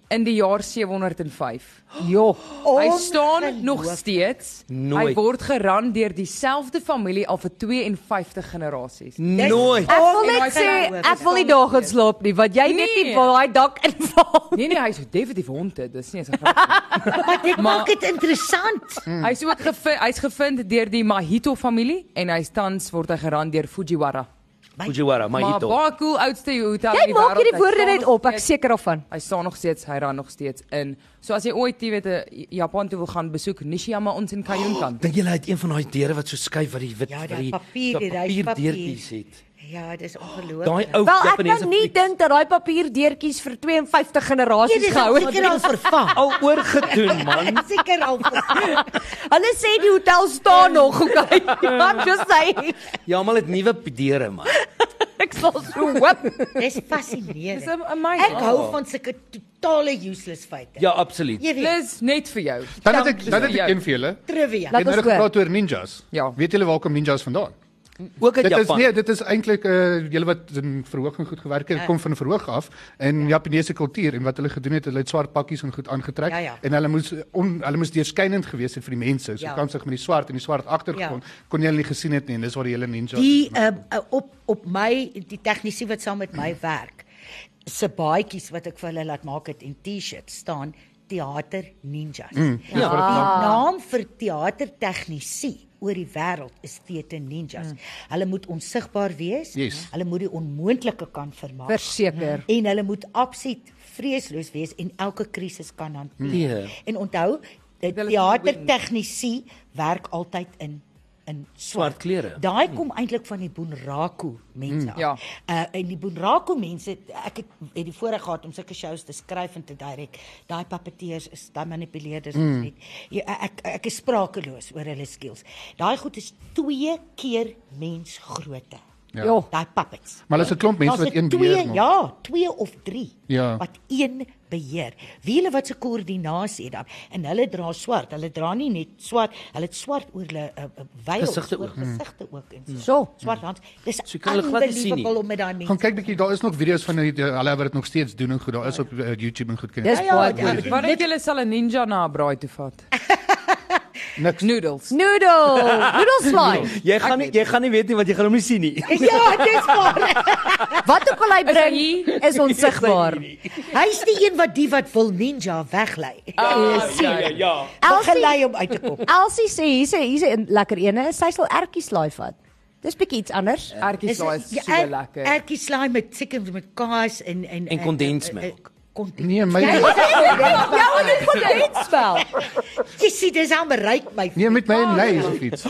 E: in die jaar 705.
B: Jo.
E: Hy staan nog
C: Ongeloof.
E: steeds. Hy
F: Nooit.
E: word geran deur dieselfde familie al vir 52 generasies.
F: Nooit.
B: Ek wil
E: en
B: net
E: hy
B: sê
E: kan
C: nou-
B: ek wil nie daar gaan slaap nie, want jy weet nie
E: ja, Nee.
B: waar hy dak inval.
E: Nee nee, hy is definitief haunted. Dis nie 'n grap.
C: Maar dit
E: Maar-
C: maak dit interessant.
B: Hmm.
E: Hy's ook gevind, hy's gevind deur die Mahito familie en hy tans word hy geran deur Fujiwara.
F: Fujiwara, my
E: Maar
F: hito.
E: baie cool oudste hotel
B: Jy
E: in Ja, die
B: maak
E: wêreld.
B: hierdie
E: Hy
B: woorde
E: staan
B: net
E: nog
B: op, ek
E: steeds-
B: seker daarvan.
E: Hy staan nog steeds, hy ran nog steeds in. So as jy ooit, jy weet, 'n Japan toe wil gaan besoek, Nishiyama Onsen Kayunkan.
F: Oh, Dink jy hy het een van daai deure wat so skuif wat die wit
C: Ja,
F: wat
C: daai papier, die
F: daai
C: reispapier.
F: papierdeurtjies het?
C: Ja, dis ongelooflik.
F: Daai ou
B: Wel, ek
F: Japaneese
B: kan nie
F: fliek.
B: dink dat daai papierdeurtjies vir 52
C: Jy
B: generasies
C: is
B: gehou
C: seker al
B: het.
C: vervang.
F: al oorgedoen man.
C: Seker al vervang.
B: Hulle sê die hotel staan nog, okay. I'm just saying.
F: Ja, maar dit nuwe deure man.
B: Ek sal so hoop.
C: Dis
E: Dis
C: fascinerend.
E: amazing.
C: Ek hou van sulke totale useless feite.
F: Ja, absoluut.
C: Jy weet,
E: Dis net vir jou.
D: Dan het ek
E: Dankie
D: dan het
E: vir
D: ek
E: jou.
D: een vir julle.
C: trivia.
B: Laat
D: Ek het nou
B: ons hoor.
D: gepraat oor ninjas.
E: Ja.
D: Weet julle waar kom ninjas vandaan?
F: Ook uit
D: Dit is
F: Japan.
D: nee, dit is eintlik uh julle wat in verhoging goed gewerk het, kom van verhoog af in Japaneese kultuur en wat hulle gedoen het, hulle het swart pakkies en goed aangetrek
C: Ja, ja.
D: en hulle moes on, hulle moes deurskynend gewees het vir die mense. So
C: Ja.
D: ja. kan sig met die swart en die swart agtergrond ja. kon jy hulle nie gesien het nie en dis waar die hele ninja
C: Die ehm, uh, op op my die tegnisi wat saam met my werk se baadjies wat ek vir hulle laat maak het en T-shirts staan teater ninjas. Mm,
D: dis wat dit maak.
C: Die naam vir teater tegnisi oor die wêreld is theater ninjas. Mm. Hulle moet onsigbaar wees.
D: Yes.
C: Hulle moet die onmoontlike kan vermaak.
B: Verseker.
C: en hulle moet absoluut vreesloos wees en elke krisis kan hanteer.
F: Ja.
C: En onthou, die teater tegnisi werk altyd in in
F: Swart klere.
C: Daai kom eintlik van die Bunraku mense. af.
E: Ja.
C: Uh en die Bunraku mense, ek het, het die voorreg gehad om sulke shows te skryf en te direk. Daai papeteers is daai manipuleerders mm. net. Ja, ek ek is sprakeloos oor hulle skills. Daai goed is 2 keer mens grootte.
D: Ja.
B: Jo.
C: Daai puppets.
D: Maar hulle is 'n klomp mense
C: Daar's
D: wat
C: er
D: een
C: twee-
D: beheer maak.
C: Ja, twee of drie
D: Ja.
C: wat een beheer. Wie hulle wat se koördinasie dan en hulle dra swart. Hulle dra nie net swart, hulle het swart oor hulle uh, uh, wyl
F: Gesigte ook.
D: Hmm.
C: gesigte ook en so.
B: So.
C: Swart hand. Dis
F: So jy kan hulle glad nie sien nie.
C: unbelievable om met daai
D: Gaan
C: mense.
D: kyk bietjie, daar is nog video's van die- die- hulle wat dit nog steeds doen en goed. Daar is op uh, YouTube en goed kan jy-
B: Dis baie
C: ja,
B: goed.
E: Wat het julle sal 'n ninja na 'n braai toe vat?
D: niks.
E: Noodles.
B: Noodle, noodle slime.
F: Jy gaan nie jy gaan nie weet nie wat jy gaan hom nie sien nie.
C: Ja, dis waar.
B: Wat ook al hy
E: hy
B: bring
E: hier?
B: is onsigbaar.
C: Hy's die een wat die wat wil ninja weglei.
E: Ah, ja, ja, ja.
C: Al
B: Elsie-
C: gelei om uit te kom.
B: Elsie sê hier's 'n hier's 'n lekker ene, sy sal ertjies laai vat. Dis bietjie iets anders.
E: Ertjie slaai is
C: ja,
E: so
C: er-
E: lekker.
C: Ertjie slaai met seker met kaas en en eh,
F: En kondensmelk.
C: Kondens.
D: Nee, my
B: Ja, en dit kon net spel.
C: Jy sien dis aan bereik my.
D: nee met my neus of iets.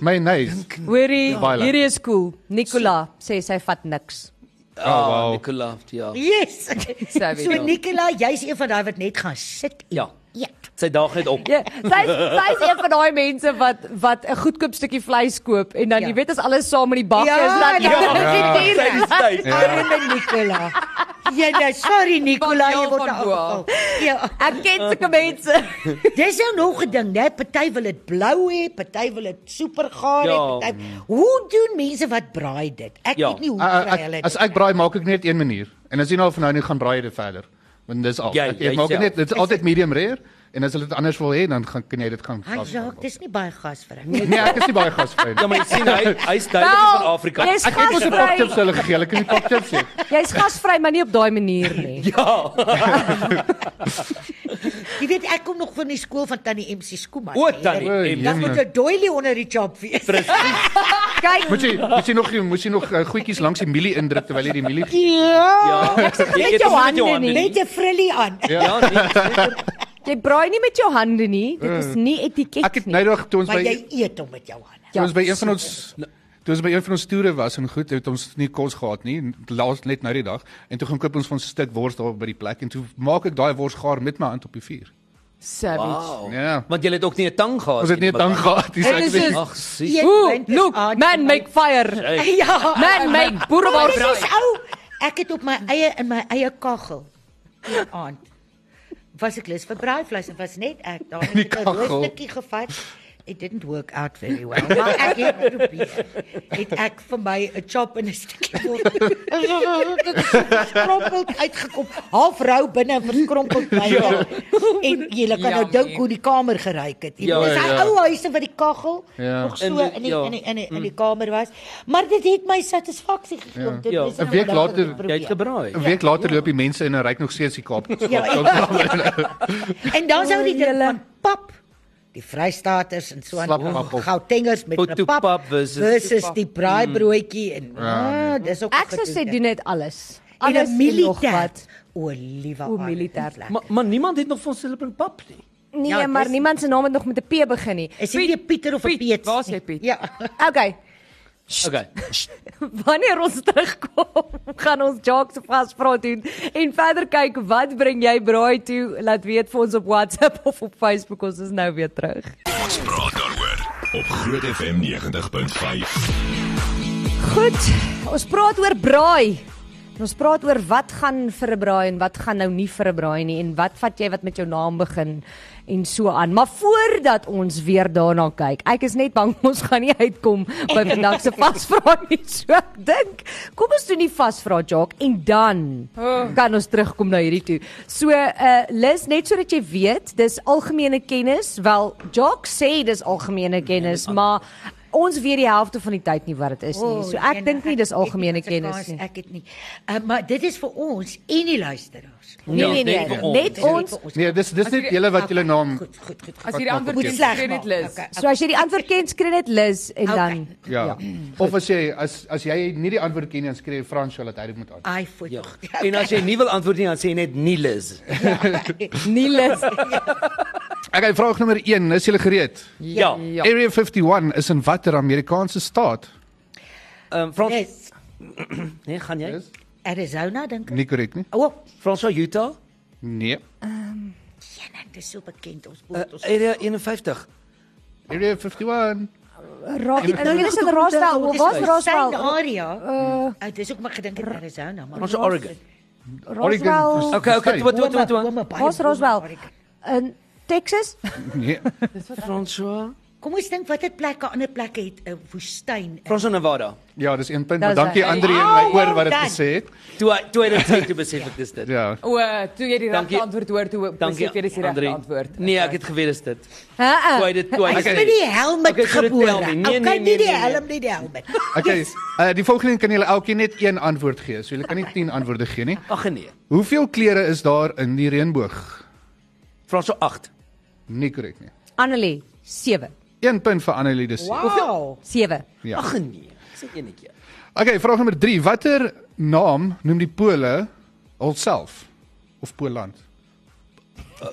D: My neus.
B: Hoorie,
D: Ja, Baie lekker.
B: hierdie is cool. Nicola sê sy vat niks.
F: Ah,
D: Oh, wow.
F: Nicola, ja.
C: Yes.
E: Savvy
C: so
E: dog.
C: Nicola, jy's een van daai wat net gaan sit.
F: Ja.
C: Eet.
F: Sy dag het op.
B: Ja, sy sy is een van daai mense wat wat 'n goedkoop stukkie vleis koop en dan
C: Ja.
B: jy weet as alles saam met die bakkie is dan
F: ja.
B: Dit
F: Sy
B: is
F: is tyd.
D: Ja.
C: Arme Nicola. Ja, nee, sorry Nicola,
E: Van
C: jy
E: Jaal
C: word
E: van
C: nou
E: Boa.
C: afgeval. Ja.
B: Ek ken sulke mense.
C: Dis nou nog 'n ding, né? Party wil dit blou hê, party wil dit super gaar hê,
F: Ja.
C: party. Hoe doen mense wat braai dit? Ek
F: Ja.
C: weet nie hoe
D: Ah, ah,
C: kry hulle
D: ek,
C: dit.
D: as ek braai maak ek net een manier en as jy nou van nou nie gaan braai dit verder want dis al
F: Jy-
D: ek, ek
F: jy
D: maak dit
F: self.
D: net dit is altyd medium rare en as hulle dit anders wil hê dan gaan kan jy dit gaan
C: Hy
D: gas-
C: sê dis nie baie gas vir hom.
D: nee ek is nie baie gasvry
F: Ja,
D: nie.
F: maar jy sien hy hy's duidelik nie van
B: Wel,
F: Afrika.
B: dis
D: ek het mos 'n pak
B: gasvry.
D: chips hulle gegee hulle kan nie pak chips hê
B: Jy's gasvry, maar nie op daai manier nie.
F: Ja.
C: Jy weet ek kom nog van die skool van tannie MC Skooman.
F: O,
C: hè,
F: tannie
C: en
D: MC.
C: Dan moet 'n doilie onder die chop wees.
B: Kyk,
D: moet jy moet jy nog moet jy nog uh, goedjies langs die mielie indruk terwyl jy die mielie
C: Ja.
F: Ja. Jy
B: met
F: eet
B: jou
F: nie
B: hande nie.
C: Met 'n frillie aan.
F: Ja, nee.
B: jy braai nie met jou hande nie. Dit is nie etiket
D: ek het
B: nie.
D: nou nog toe ons
C: Maar
D: by
C: jy eet hom met jou hande.
D: toe ons by een van ons Toe ons by een van ons toere was en goed, het ons nie kos gehad nie, laas net nou die dag en toe gaan koop ons van 'n stuk wors daar by die plek en toe maak ek daai wors gaar met my hand op die vuur.
E: Savage.
F: Wow.
D: Ja.
F: Want jy het ook nie 'n tang gehad
D: Ons het net dan gehad, dis
B: En is dit-
D: ek.
F: Ag, sien.
C: Eet
B: Ooh,
C: wind is
B: look,
C: aan.
B: man make fire.
F: Hey.
C: Ja.
B: Man make boerewal
C: Dis is
B: braai.
C: ou. Ek het op my eie in my eie kaggel een aand was ek lus vir braaivleis en was net ek daar
D: Die
C: het ek 'n rooi
D: kaggel.
C: stukkie gevat. It didn't work out very well. Maar ek het probeer. Het ek vir my 'n chop en 'n stukkie word. Dit is verskrompeld uitgekom. Half rou binne en verskrompeld by. Ja. En jy kan nou
E: Jammer.
C: dink hoe die kamer geruik het. Jy
F: Ja,
C: weet, dis
D: ja.
C: daai ou huise wat die kaggel
D: Ja.
C: nog so
F: In die-
C: in die
F: ja.
C: in die in die, in die kamer was. Maar dit het my satisfaksie gegee om dit
F: Ja.
C: dis nou
D: 'n week
C: wat ek
D: later-
C: probeer.
F: Jy het gebraai.
D: 'n Week later loop die mense in en ryk nog steeds die Kaap.
C: Ja. En dan sou die ding van pap die Vrystaters en so
D: Slap pap op.
C: Gautengers met 'n pap,
F: Potjoepap
C: pap
F: versus-
C: versus, versus die
F: Mm.
C: braaibroodjie en
D: Ja, nee.
C: ah, dis ook
B: Ek sou sê doen net alles.
C: en
B: Alles
C: 'n militêr.
B: wat.
C: O, liewe
B: O,
C: aarde,
B: militêr.
C: plek.
F: Maar maar niemand het nog van hulle bring pap nie.
B: Nee,
C: Ja,
B: ja, maar
C: dis-
B: niemand se naam het nog met 'n P begin nie.
C: Is dit nie 'n Pieter of 'n
E: Piet,
C: Piet?
E: waar's jy, Piet?
C: Ja.
B: Okay.
F: Okay.
B: Wanneer ons terugkom, gaan ons jokes of vasvra doen en verder kyk wat bring jy braai toe? Laat weet vir ons op WhatsApp of op Facebook. Ons is nou weer terug.
A: Ons praat daaroor op Groot FM 90.5.
B: Goed, ons praat oor braai. En ons praat oor wat gaan vir 'n braai en wat gaan nou nie vir 'n braai nie en wat vat jy wat met jou naam begin en so aan. Maar voordat ons weer daarna kyk, ek is net bang ons gaan nie uitkom by vandag se vasvra nie. So ek dink, kom ons doen die vasvra Jock en dan kan ons terugkom na hierdie toe. So uh Lis, net sodat jy weet, dis algemene kennis. Wel, Jock sê dis algemene kennis, maar Ons weet die helfte van die tyd nie wat dit is nie.
C: O,
B: so ek
C: Jenna,
B: dink nie dis
C: nee, weet
B: algemene
C: wat se
B: kennis
C: kans
B: nie.
C: Ek het nie. Uh, maar dit is vir ons en die luisteraars.
B: Nee nee
F: Ja,
B: nee,
F: net vir
B: net ons.
C: Vir
D: Nee, dis dis net julle wat julle naam
C: Goed, goed, goed.
E: As
C: goed.
E: jy die
D: Wat maak
E: antwoord
C: Moet
E: ken,
C: sleg
E: ken
C: maak.
E: dit Liz.
C: Okay,
B: So as jy die antwoord ken, skryf dit Liz en
C: Okay.
B: dan
D: ja. Of as jy as as jy nie die antwoord ken nie, dan skryf Fransjo dat hy dit moet aan.
C: I for
F: Ja.
C: you.
F: En as jy nie wil antwoord nie, dan sê jy net nie Liz.
B: nie Liz.
D: Okay, vraag nommer 1, is julle gereed?
F: Ja.
E: Ja.
D: Area 51 is in watter Amerikaanse staat?
F: Ehm um, Frans,
C: Yes.
F: nee, gaan jy?
D: Yes.
C: Arizona dink ek.
D: Nie korrek nie?
C: O, oh,
F: Frans van Utah,
D: Nee.
C: Jenna, dit is so bekend ons
F: uh,
C: boord ons.
F: Area 51.
D: Area 51.
B: Raak dit nou nie is Eh. in Roswell,
C: Dis
B: waar's
C: in
B: Roswell?
C: Syne area. Uh, dit is ook maar gedink in Arizona, maar
F: Frans van Oregon.
D: Oregon.
B: Roswell.
F: Okay, okay,
D: Sy.
F: wat wat wat wat.
C: Oome, baie
B: Waar's
C: oome,
B: Roswell?
C: Oregon.
B: In Texas?
D: Nee.
F: Frans van
C: Kom ons dink watter plekke ander plekke het 'n woestyn. in.
F: Frans van Nevada.
D: Ja, dis een punt,
B: Dis
D: maar dankie
B: hy.
D: ander een
C: Oh,
D: my oor
C: well
D: wat dit
C: done.
D: gesê het.
F: Toe hy- toe hy dit sê, toe besef ek dis dit.
D: Ja.
E: O, toe jy die regte
F: Dankie.
E: antwoord hoor, toe
F: Dankie.
E: besef jy dis die regte
F: Andre.
E: antwoord.
F: Nee, ek het geweet is dit. Toe hy
B: Hæ?
F: dit toe hy
C: Hy is met die helm
F: Okay, so dit tel
C: gebore.
F: nie.
C: Okay,
F: Nee,
C: nie
F: nee, nee,
C: die
F: nee, nee.
C: helm nie die helm.
D: Okay, uh, die volgende een kan julle elkeen net een antwoord gee. So julle kan nie 10 antwoorde gee nie.
F: Ag nee.
D: Hoeveel kleure is daar in die reënboog?
F: Frans van 8.
D: Nie korrek nie.
B: Annelie, 7.
D: 1 punt vir Annelie de Silva.
C: Wow.
B: 7.
D: Ja.
F: Ag nee. Ek sê enetjie.
D: Okay, vraag nommer 3. Watter naam noem die Pole hulself of Poland?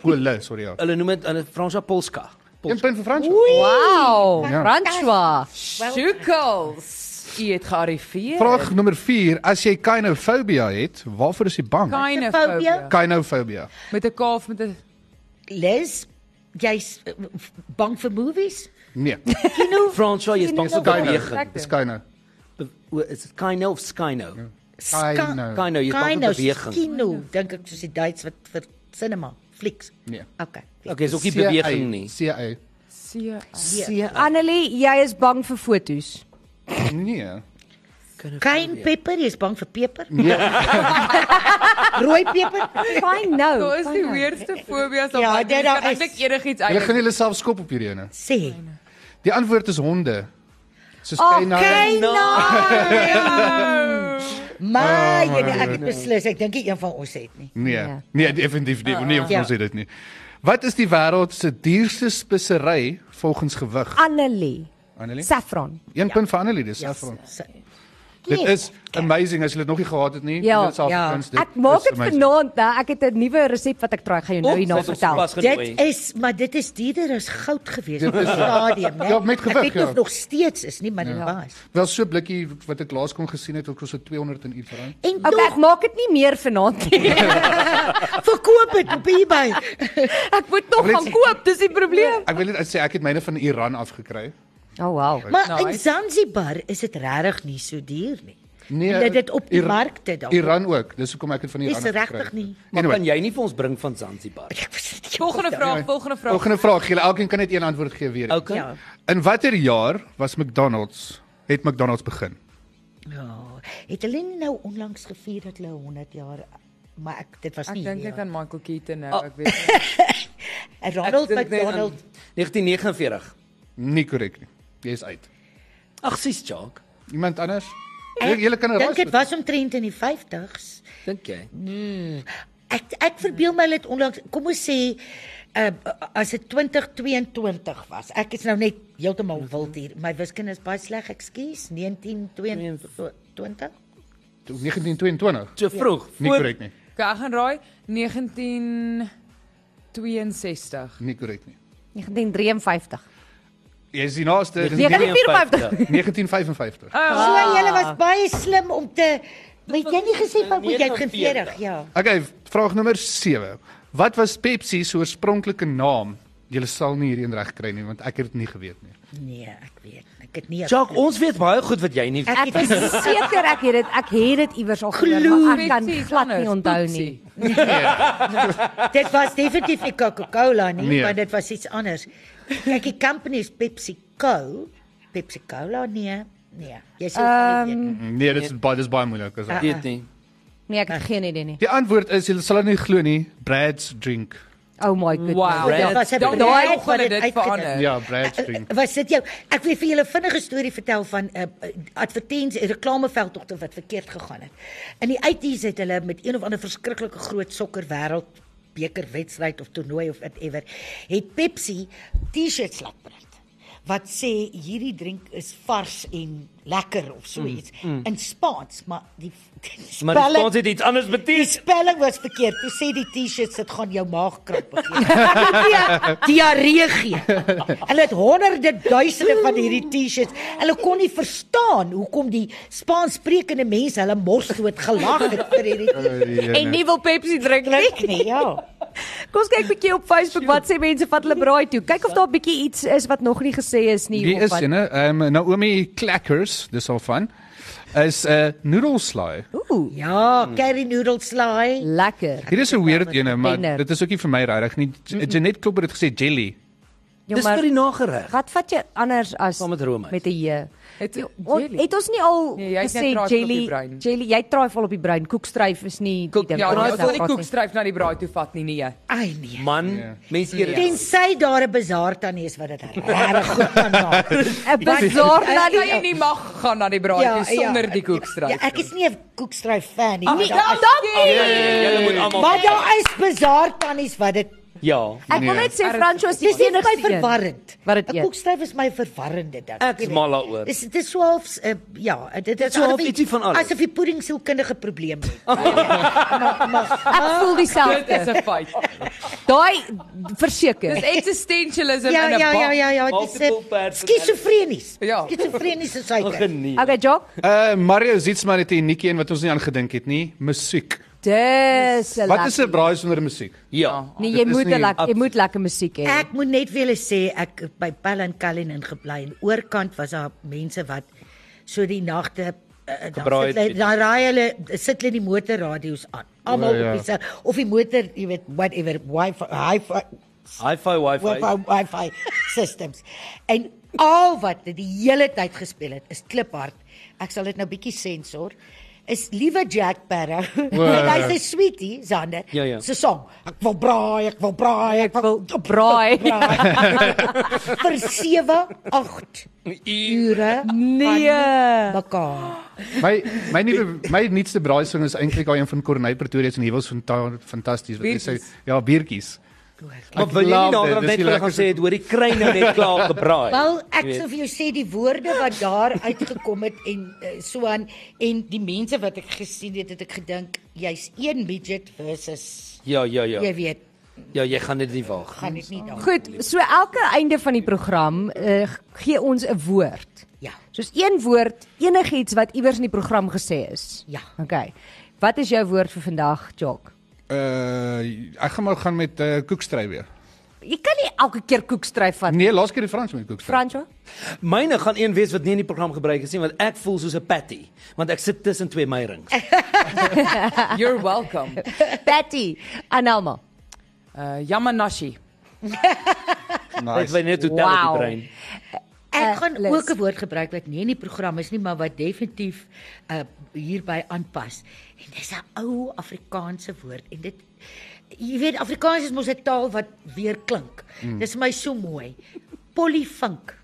D: Pole, sorry ja.
F: Hulle noem dit hulle Frans van Polska.
D: 1 punt vir Frans.
B: Wow,
D: Ja.
B: François.
E: Sukels. Jy het gearriveer.
D: Vraag nommer 4. As jy kynofobia het, waarvoor is jy bang?
E: Kynofobie.
D: Kynofobia.
E: Met 'n kaaf met 'n
C: Liz, jy's eh, f- bang vir movies?
D: Nee,
F: Frans van jy's bang vir
D: Kyno.
F: beweging.
D: dis kyno.
F: Be- o, Is dit Kino of Skino?
D: Kyno.
F: Kino, jy's bang vir beweging.
C: Kino, nou dink ek soos die Duits wat vir cinema, flieks.
D: Nee.
C: Okay.
F: Okay, is ook nie beweging nie.
D: CA.
E: see.
F: Seer.
B: Annelie, jy is bang vir fotos.
D: Nee.
C: Kein peper, jy's bang vir peper? Nee. Rooi peper?
F: Nee.
B: Fyn nou.
E: Daar is die
B: fyn nou.
E: weirdste fobias
C: Ja, dit
E: wat mens kan
C: daar is.
E: eintlik enigiets
D: Hulle gaan
E: uit.
D: julle self skop op hierdie ene.
C: Sê.
D: Die antwoord is honde. Soos
B: Ah,
D: kyno.
C: Kino. Maar
D: Oh,
C: jy
D: my
C: ek het beslis, ek dink nie een van ons het nie.
D: Nee.
B: Ja.
D: Nee, definitief nie. Nee, ons
C: Ja.
D: sê dit nie. Wat is die wêreld se duurste spesery volgens gewig?
B: Ah, Annelie.
D: Annelie?
B: Saffron.
D: 1 punt vir Annelie,
B: Ja.
D: dis saffron. Dit is amazing as jy dit nog nie gehad het nie.
B: Ja,
D: dit self
C: ja.
D: kuns, dit
B: Ek maak
D: is
B: dit
D: amazing.
B: vanaand, hè. Ek het 'n nuwe resep wat ek probeer gaan jou nou hierna vertel.
C: Dit is maar dit is dierder as goud gewees op 'n stadium, né?
D: Ja, met gewig,
C: Ek weet nie
D: ja.
C: of nog steeds is nie, maar dit was.
D: Wel so 'n blikkie wat ek laas kon gesien het, het kos so 200 en iets rand.
C: En
B: Okay, ek
C: tog
B: maak dit nie meer vanaand nie.
C: verkoop dit op eBay.
B: Ek moet nog
D: Let's-
B: gaan koop, dis die probleem.
D: Ek wil net sê ek het myne van Iran afgekry.
B: Oh wow.
C: Maar in
E: Nice.
C: Zanzibar is dit regtig nie so duur nie.
D: Nee,
C: Hulle het dit op die
D: Ira-
C: markte dan.
D: Iran ook. Dis hoekom ek dit van Iran
C: Dis
D: afgekry het.
C: regtig nie.
F: Maar
D: Anyway,
F: kan jy nie vir ons bring van Zanzibar?
C: Ek weet nie.
E: Volgende vraag, Ja, volgende vraag.
D: volgende vraag, julle elkeen kan net een antwoord gee weer.
F: Okay.
C: Ja.
D: In watter jaar was McDonald's het McDonald's begin?
C: Ja. Het hulle nie nou onlangs gevier dat hulle 100 jaar maar ek dit was
E: Ek
C: nie.
E: dink
C: ja.
E: net aan Michael Keaton
B: Oh.
E: nou, ek weet. nie.
C: En
F: Ek
C: Ronald
F: dink
E: nee,
F: net aan
C: McDonald.
F: 1949.
D: Nie korrek nie. Jy's uit.
F: Ag, sies Jacques.
D: Iemand anders? Julle julle kan nou
C: Dink
D: raai.
C: dit was omtrent in die 50s.
F: Dink jy?
C: Ek ek verbeel my hulle het onlangs kom ons sê uh, as dit 2022 was. Ek is nou net heeltemal wild hier. My wiskunde is baie sleg, ekskuus. 1922.
D: 1922.
F: Te vroeg.
D: Nie
F: voor-
D: korrek nie.
E: Okay, ek gaan raai 1962.
D: Nie korrek nie.
B: 1953.
D: Jy is die naaste dit is
B: Nee, kan nie
F: 54.
D: 1955.
E: Ah.
C: So julle was baie slim om te Weet jy nie gesê van moet jy het geen
F: 49.
C: 40 ja.
D: Okay, vraag nommer 7. Wat was Pepsi se oorspronklike naam? Julle sal nie hierdie een reg kry nie want ek het dit nie geweet nie.
C: Nee, ek weet. Ek het nie.
F: Jacques, ons weet baie goed wat jy nie weet.
B: Ek is seker ek het dit ek het dit iewers al gehoor, maar ek kan
E: Pepsi is
B: glad nie
E: anders,
B: onthou nie.
E: Pepsi.
C: Dit was definitief nie Coca-Cola nie,
D: Nee.
C: nee. want dit was iets anders. Kyk, die company is PepsiCo. PepsiCola nee. Nee, jy sê um,
D: Nee, dit is baie dis baie moeilik as ek.
F: Weet nie.
B: Nee, ek het geen idee nie.
D: Die antwoord is julle sal dit nie glo nie. Brad's drink.
B: Oh my goodness.
E: Wow.
B: Ja.
C: dit was 'n
E: Daai
C: bedrijf
E: oggend
C: wat dit
E: het dit
C: uitgedink.
E: verander.
D: Ja, Brad's drink.
C: was dit jou ek wil vir julle vinnige storie vertel van 'n uh, advertensie reklameveldtogte wat verkeerd gegaan het. In die 80's het hulle met een of ander verskriklike groot sokker wêreld beker wedstryd of toernooi of whatever het Pepsi T-shirts laat print wat sê hierdie drink is vars en lekker of so iets mm, mm. in Spaans maar die, die
F: Maar die
C: spelling-
F: spons het iets anders beteken.
C: spelling was verkeerd. Toe sê die T-shirts dit gaan jou maagkrampe gee. Ja, Diarree gee. Hulle het honderde duisende van hierdie T-shirts. Hulle kon nie verstaan hoekom die Spaanssprekende mense hulle mors dood gelag het vir hierdie
B: En nie wil Pepsi drink nie.
C: drink nie. Ja.
B: Kom ons kyk bietjie op Facebook wat sê mense vat hulle braai toe. Kyk of daar bietjie iets is wat nog nie gesê is nie
D: Wie
B: of
D: is
B: wat.
D: jene? Ehm um, Naomi Clackers, dis al van. Is 'n uh, noedelslaai.
B: Ooh,
C: Ja, curry noodle slaai.
B: lekker.
D: Hier is 'n weird ene, maar
B: Dinner.
D: dit is ook nie vir my regtig nie. Janet Klopper het gesê jelly.
B: Ja,
F: Dis vir
B: maar
F: die nagereg.
B: wat vat jy anders as
F: Saam met roomys.
B: Met 'n J.
E: Het-
B: Jo,
E: jelly.
B: Het ons nie al
E: Nee, jy het net
B: gesê
E: draai vol op die
B: jelly
E: brein.
B: jelly jy draai vol op die brein. Koekstryf is nie die
E: Koek,
B: ding.
E: ja,
B: Ons
E: jy
B: het
E: sal
B: daar
E: nie
B: gehad nie.
E: koekstryf na die braai toe vat nie, nee.
C: Ai nee.
F: Man, mense eet dit.
C: Tensy daar 'n bazaar tannie is wat dit regtig goed kan maak.
B: 'n Bazaar
E: En
B: na
E: dan kan jy
B: die
E: nie mag gaan na die braai toe sonder die koekstryf.
C: Ja, ek is nie ja, 'n koekstryf fan nie.
E: Ag,
C: maar
E: nee,
C: daar is-
F: Julle moet almal
C: Maar daar is bazaar tannies wat dit
F: Ja.
B: Ek wil
D: Nee.
B: net sê Franco is die
C: Dis net my
B: enigste een.
C: verwarrend.
B: Wat dit
C: 'n
B: eet.
C: Koekstryf is my verwarrende ding.
F: Ek is mal daaroor.
C: Dis dis swaalf uh, ja, dit is
F: so half
C: asof jy-
F: ietsie van alles.
C: Asof die pudding sielkundige probleem het.
B: Ek voel
E: Ah. Dit is Dus
B: dieselfde.
E: 'n feit.
B: Daai verseker.
E: Dis existentialism
C: Ja
E: in 'n
C: ja ja
E: bak.
C: ja ja, dit is
F: Multiple
C: uh,
F: personality.
C: skizofrenies.
E: Ja.
C: Skizofrenies is hy.
F: Geniet.
B: Okay, Jock.
D: Uh Mario Zitsman het 'n unieke een wat ons nie aan gedink het nie, musiek.
B: Dis 'n
D: Wat is
B: lekker-
D: 'n braai sonder musiek?
F: Ja.
B: Nee,
D: dit
B: jy
D: is
B: moet
D: nie-
B: 'n lekker jy moet lekker musiek hê.
C: Ek moet net vir julle sê ek het by Pell en Cullen ingebly en oorkant was daar mense wat so die nagte eh, dan
F: Gebraai
C: sit hulle-
F: het.
C: dan raai hulle sit hulle die motorradio's aan. Almal
D: O, ja.
C: op dieselfde of die motor, jy weet, whatever, wifi, hi-fi
F: Hi-fi Wi-Fi.
C: Wi-Fi Wi-Fi systems. En al wat dit die hele tyd gespeel het is kliphard. Ek sal dit nou bietjie sensor. Is liewe Jack Sparrow. en hy's 'n sweetie, Zander.
F: Ja, ja.
C: Se song. Ek wil braai, ek wil braai, ek wil
B: braai.
C: Vir 7, 8 ure
B: Nee.
C: mekaar.
D: My my nuwe my nuutste braaising is eintlik daai een van Corneille Pretoria se Hewels van Ta- fantasties wat hy sê
E: Biertjies.
D: ja biertjies.
F: Maar wil jy nie nader net vir hulle gaan sê het hoor die kry nou net klaar gebraai.
C: Wel, ek
F: Jy weet.
C: sou vir jou sê die woorde wat daar uitgekom het en uh, so aan en die mense wat ek gesien het, het ek gedink jy's een midget versus
F: Ja, ja, ja.
C: Jy weet,
F: Ja, jy gaan dit nie waag.
C: gaan dit nie daar.
B: Goed, so elke einde van die program uh, gee ons 'n woord.
C: Ja.
B: Soos een woord, enigiets wat iewers in die program gesê is.
C: Ja.
B: Okay. Wat is jou woord vir vandag, Jock?
D: Uh ek gaan maar gaan met uh koekstry weer.
B: Jy kan nie elke keer koekstryf vat.
D: Nee, laas keer die Frans met koekstry.
B: Franco?
F: Myne gaan een wees wat nie in die program gebruik is nie want ek voel soos 'n patty want ek sit tussen twee meierings.
E: You're welcome.
B: Patty, Anelma.
E: Uh Yamanashi.
F: Dit
D: Nice.
F: wy net totaal wow.
B: Wow.
F: die brein.
C: Ek
B: Eh,
C: gaan
B: Liz.
C: ook 'n woord gebruik wat nie in die program is nie, maar wat definitief uh hierby aanpas. En dis 'n ou Afrikaanse woord en dit jy weet Afrikaans is mos 'n taal wat weer klink. Mm. Dis vir my so mooi. Polyfunk.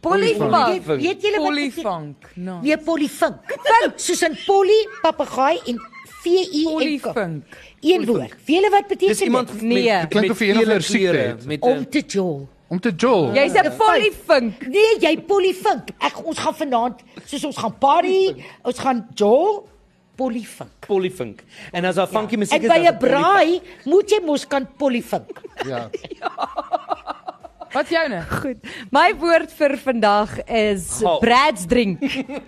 B: Polyfunk.
F: Polyfunk.
C: Weet julle wat beteken-
E: Polyfunk. No.
C: Nee, polyfunk. Funk soos in poly papegaai en V I N K.
E: Polyfunk.
C: Een woord. Weet julle wat beteken
F: Dis iemand
C: dit?
B: Nee.
F: met
D: Klink
F: met
D: of jy een of
F: vele
D: ander siekte
F: kleure,
D: het.
F: met 'n
C: om te jol.
D: Om te jol.
B: Jy's 'n polyfunk.
C: Nee, jy polyfunk. Ek ons gaan vanaand soos ons gaan party, ons gaan jol polyfunk.
F: polyfunk. En as daar funky musiek
C: En
F: is
C: by
F: dan
C: 'n braai moet jy mos kan polyfunk.
D: Ja.
E: Wat joune?
B: Goed. My woord vir vandag is
F: Gal.
B: Brad's drink.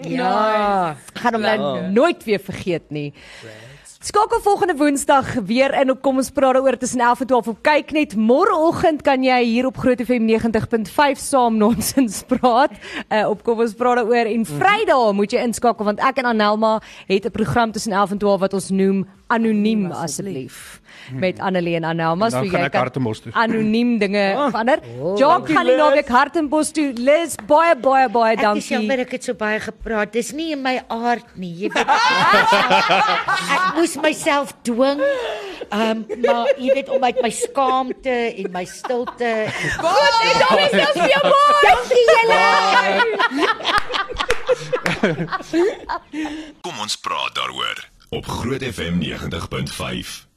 B: ja, gaan hom nou
F: Lekker.
B: nooit weer vergeet nie. Skakel volgende Woensdag weer in op kom ons praat daaroor tussen 11 en 12 op kyk net môreoggend kan jy hier op Groot FM 90.5 saam nonsens praat uh, op kom ons praat daaroor en Vrydag moet jy inskakel want ek en Anelma het 'n program tussen 11 en 12 wat ons noem anoniem asseblief met Annelie en Anelma
D: En dan
B: so
D: gaan
B: jy
D: ek Hartemos toe.
B: kan anoniem dinge verander. Jacques gaan die naweek Hartenbos toe. Liz baie baie baie
C: Ek is jammer
B: dankie.
C: ek het so baie gepraat. Dis nie in my aard nie. Jy weet. ek moes myself dwing. Ehm um, maar jy weet om uit my skaamte en my stilte.
B: Goed, en dan is dit vir jou baie. Dankie julle.
A: Kom ons praat daaroor op Groot FM 90.5.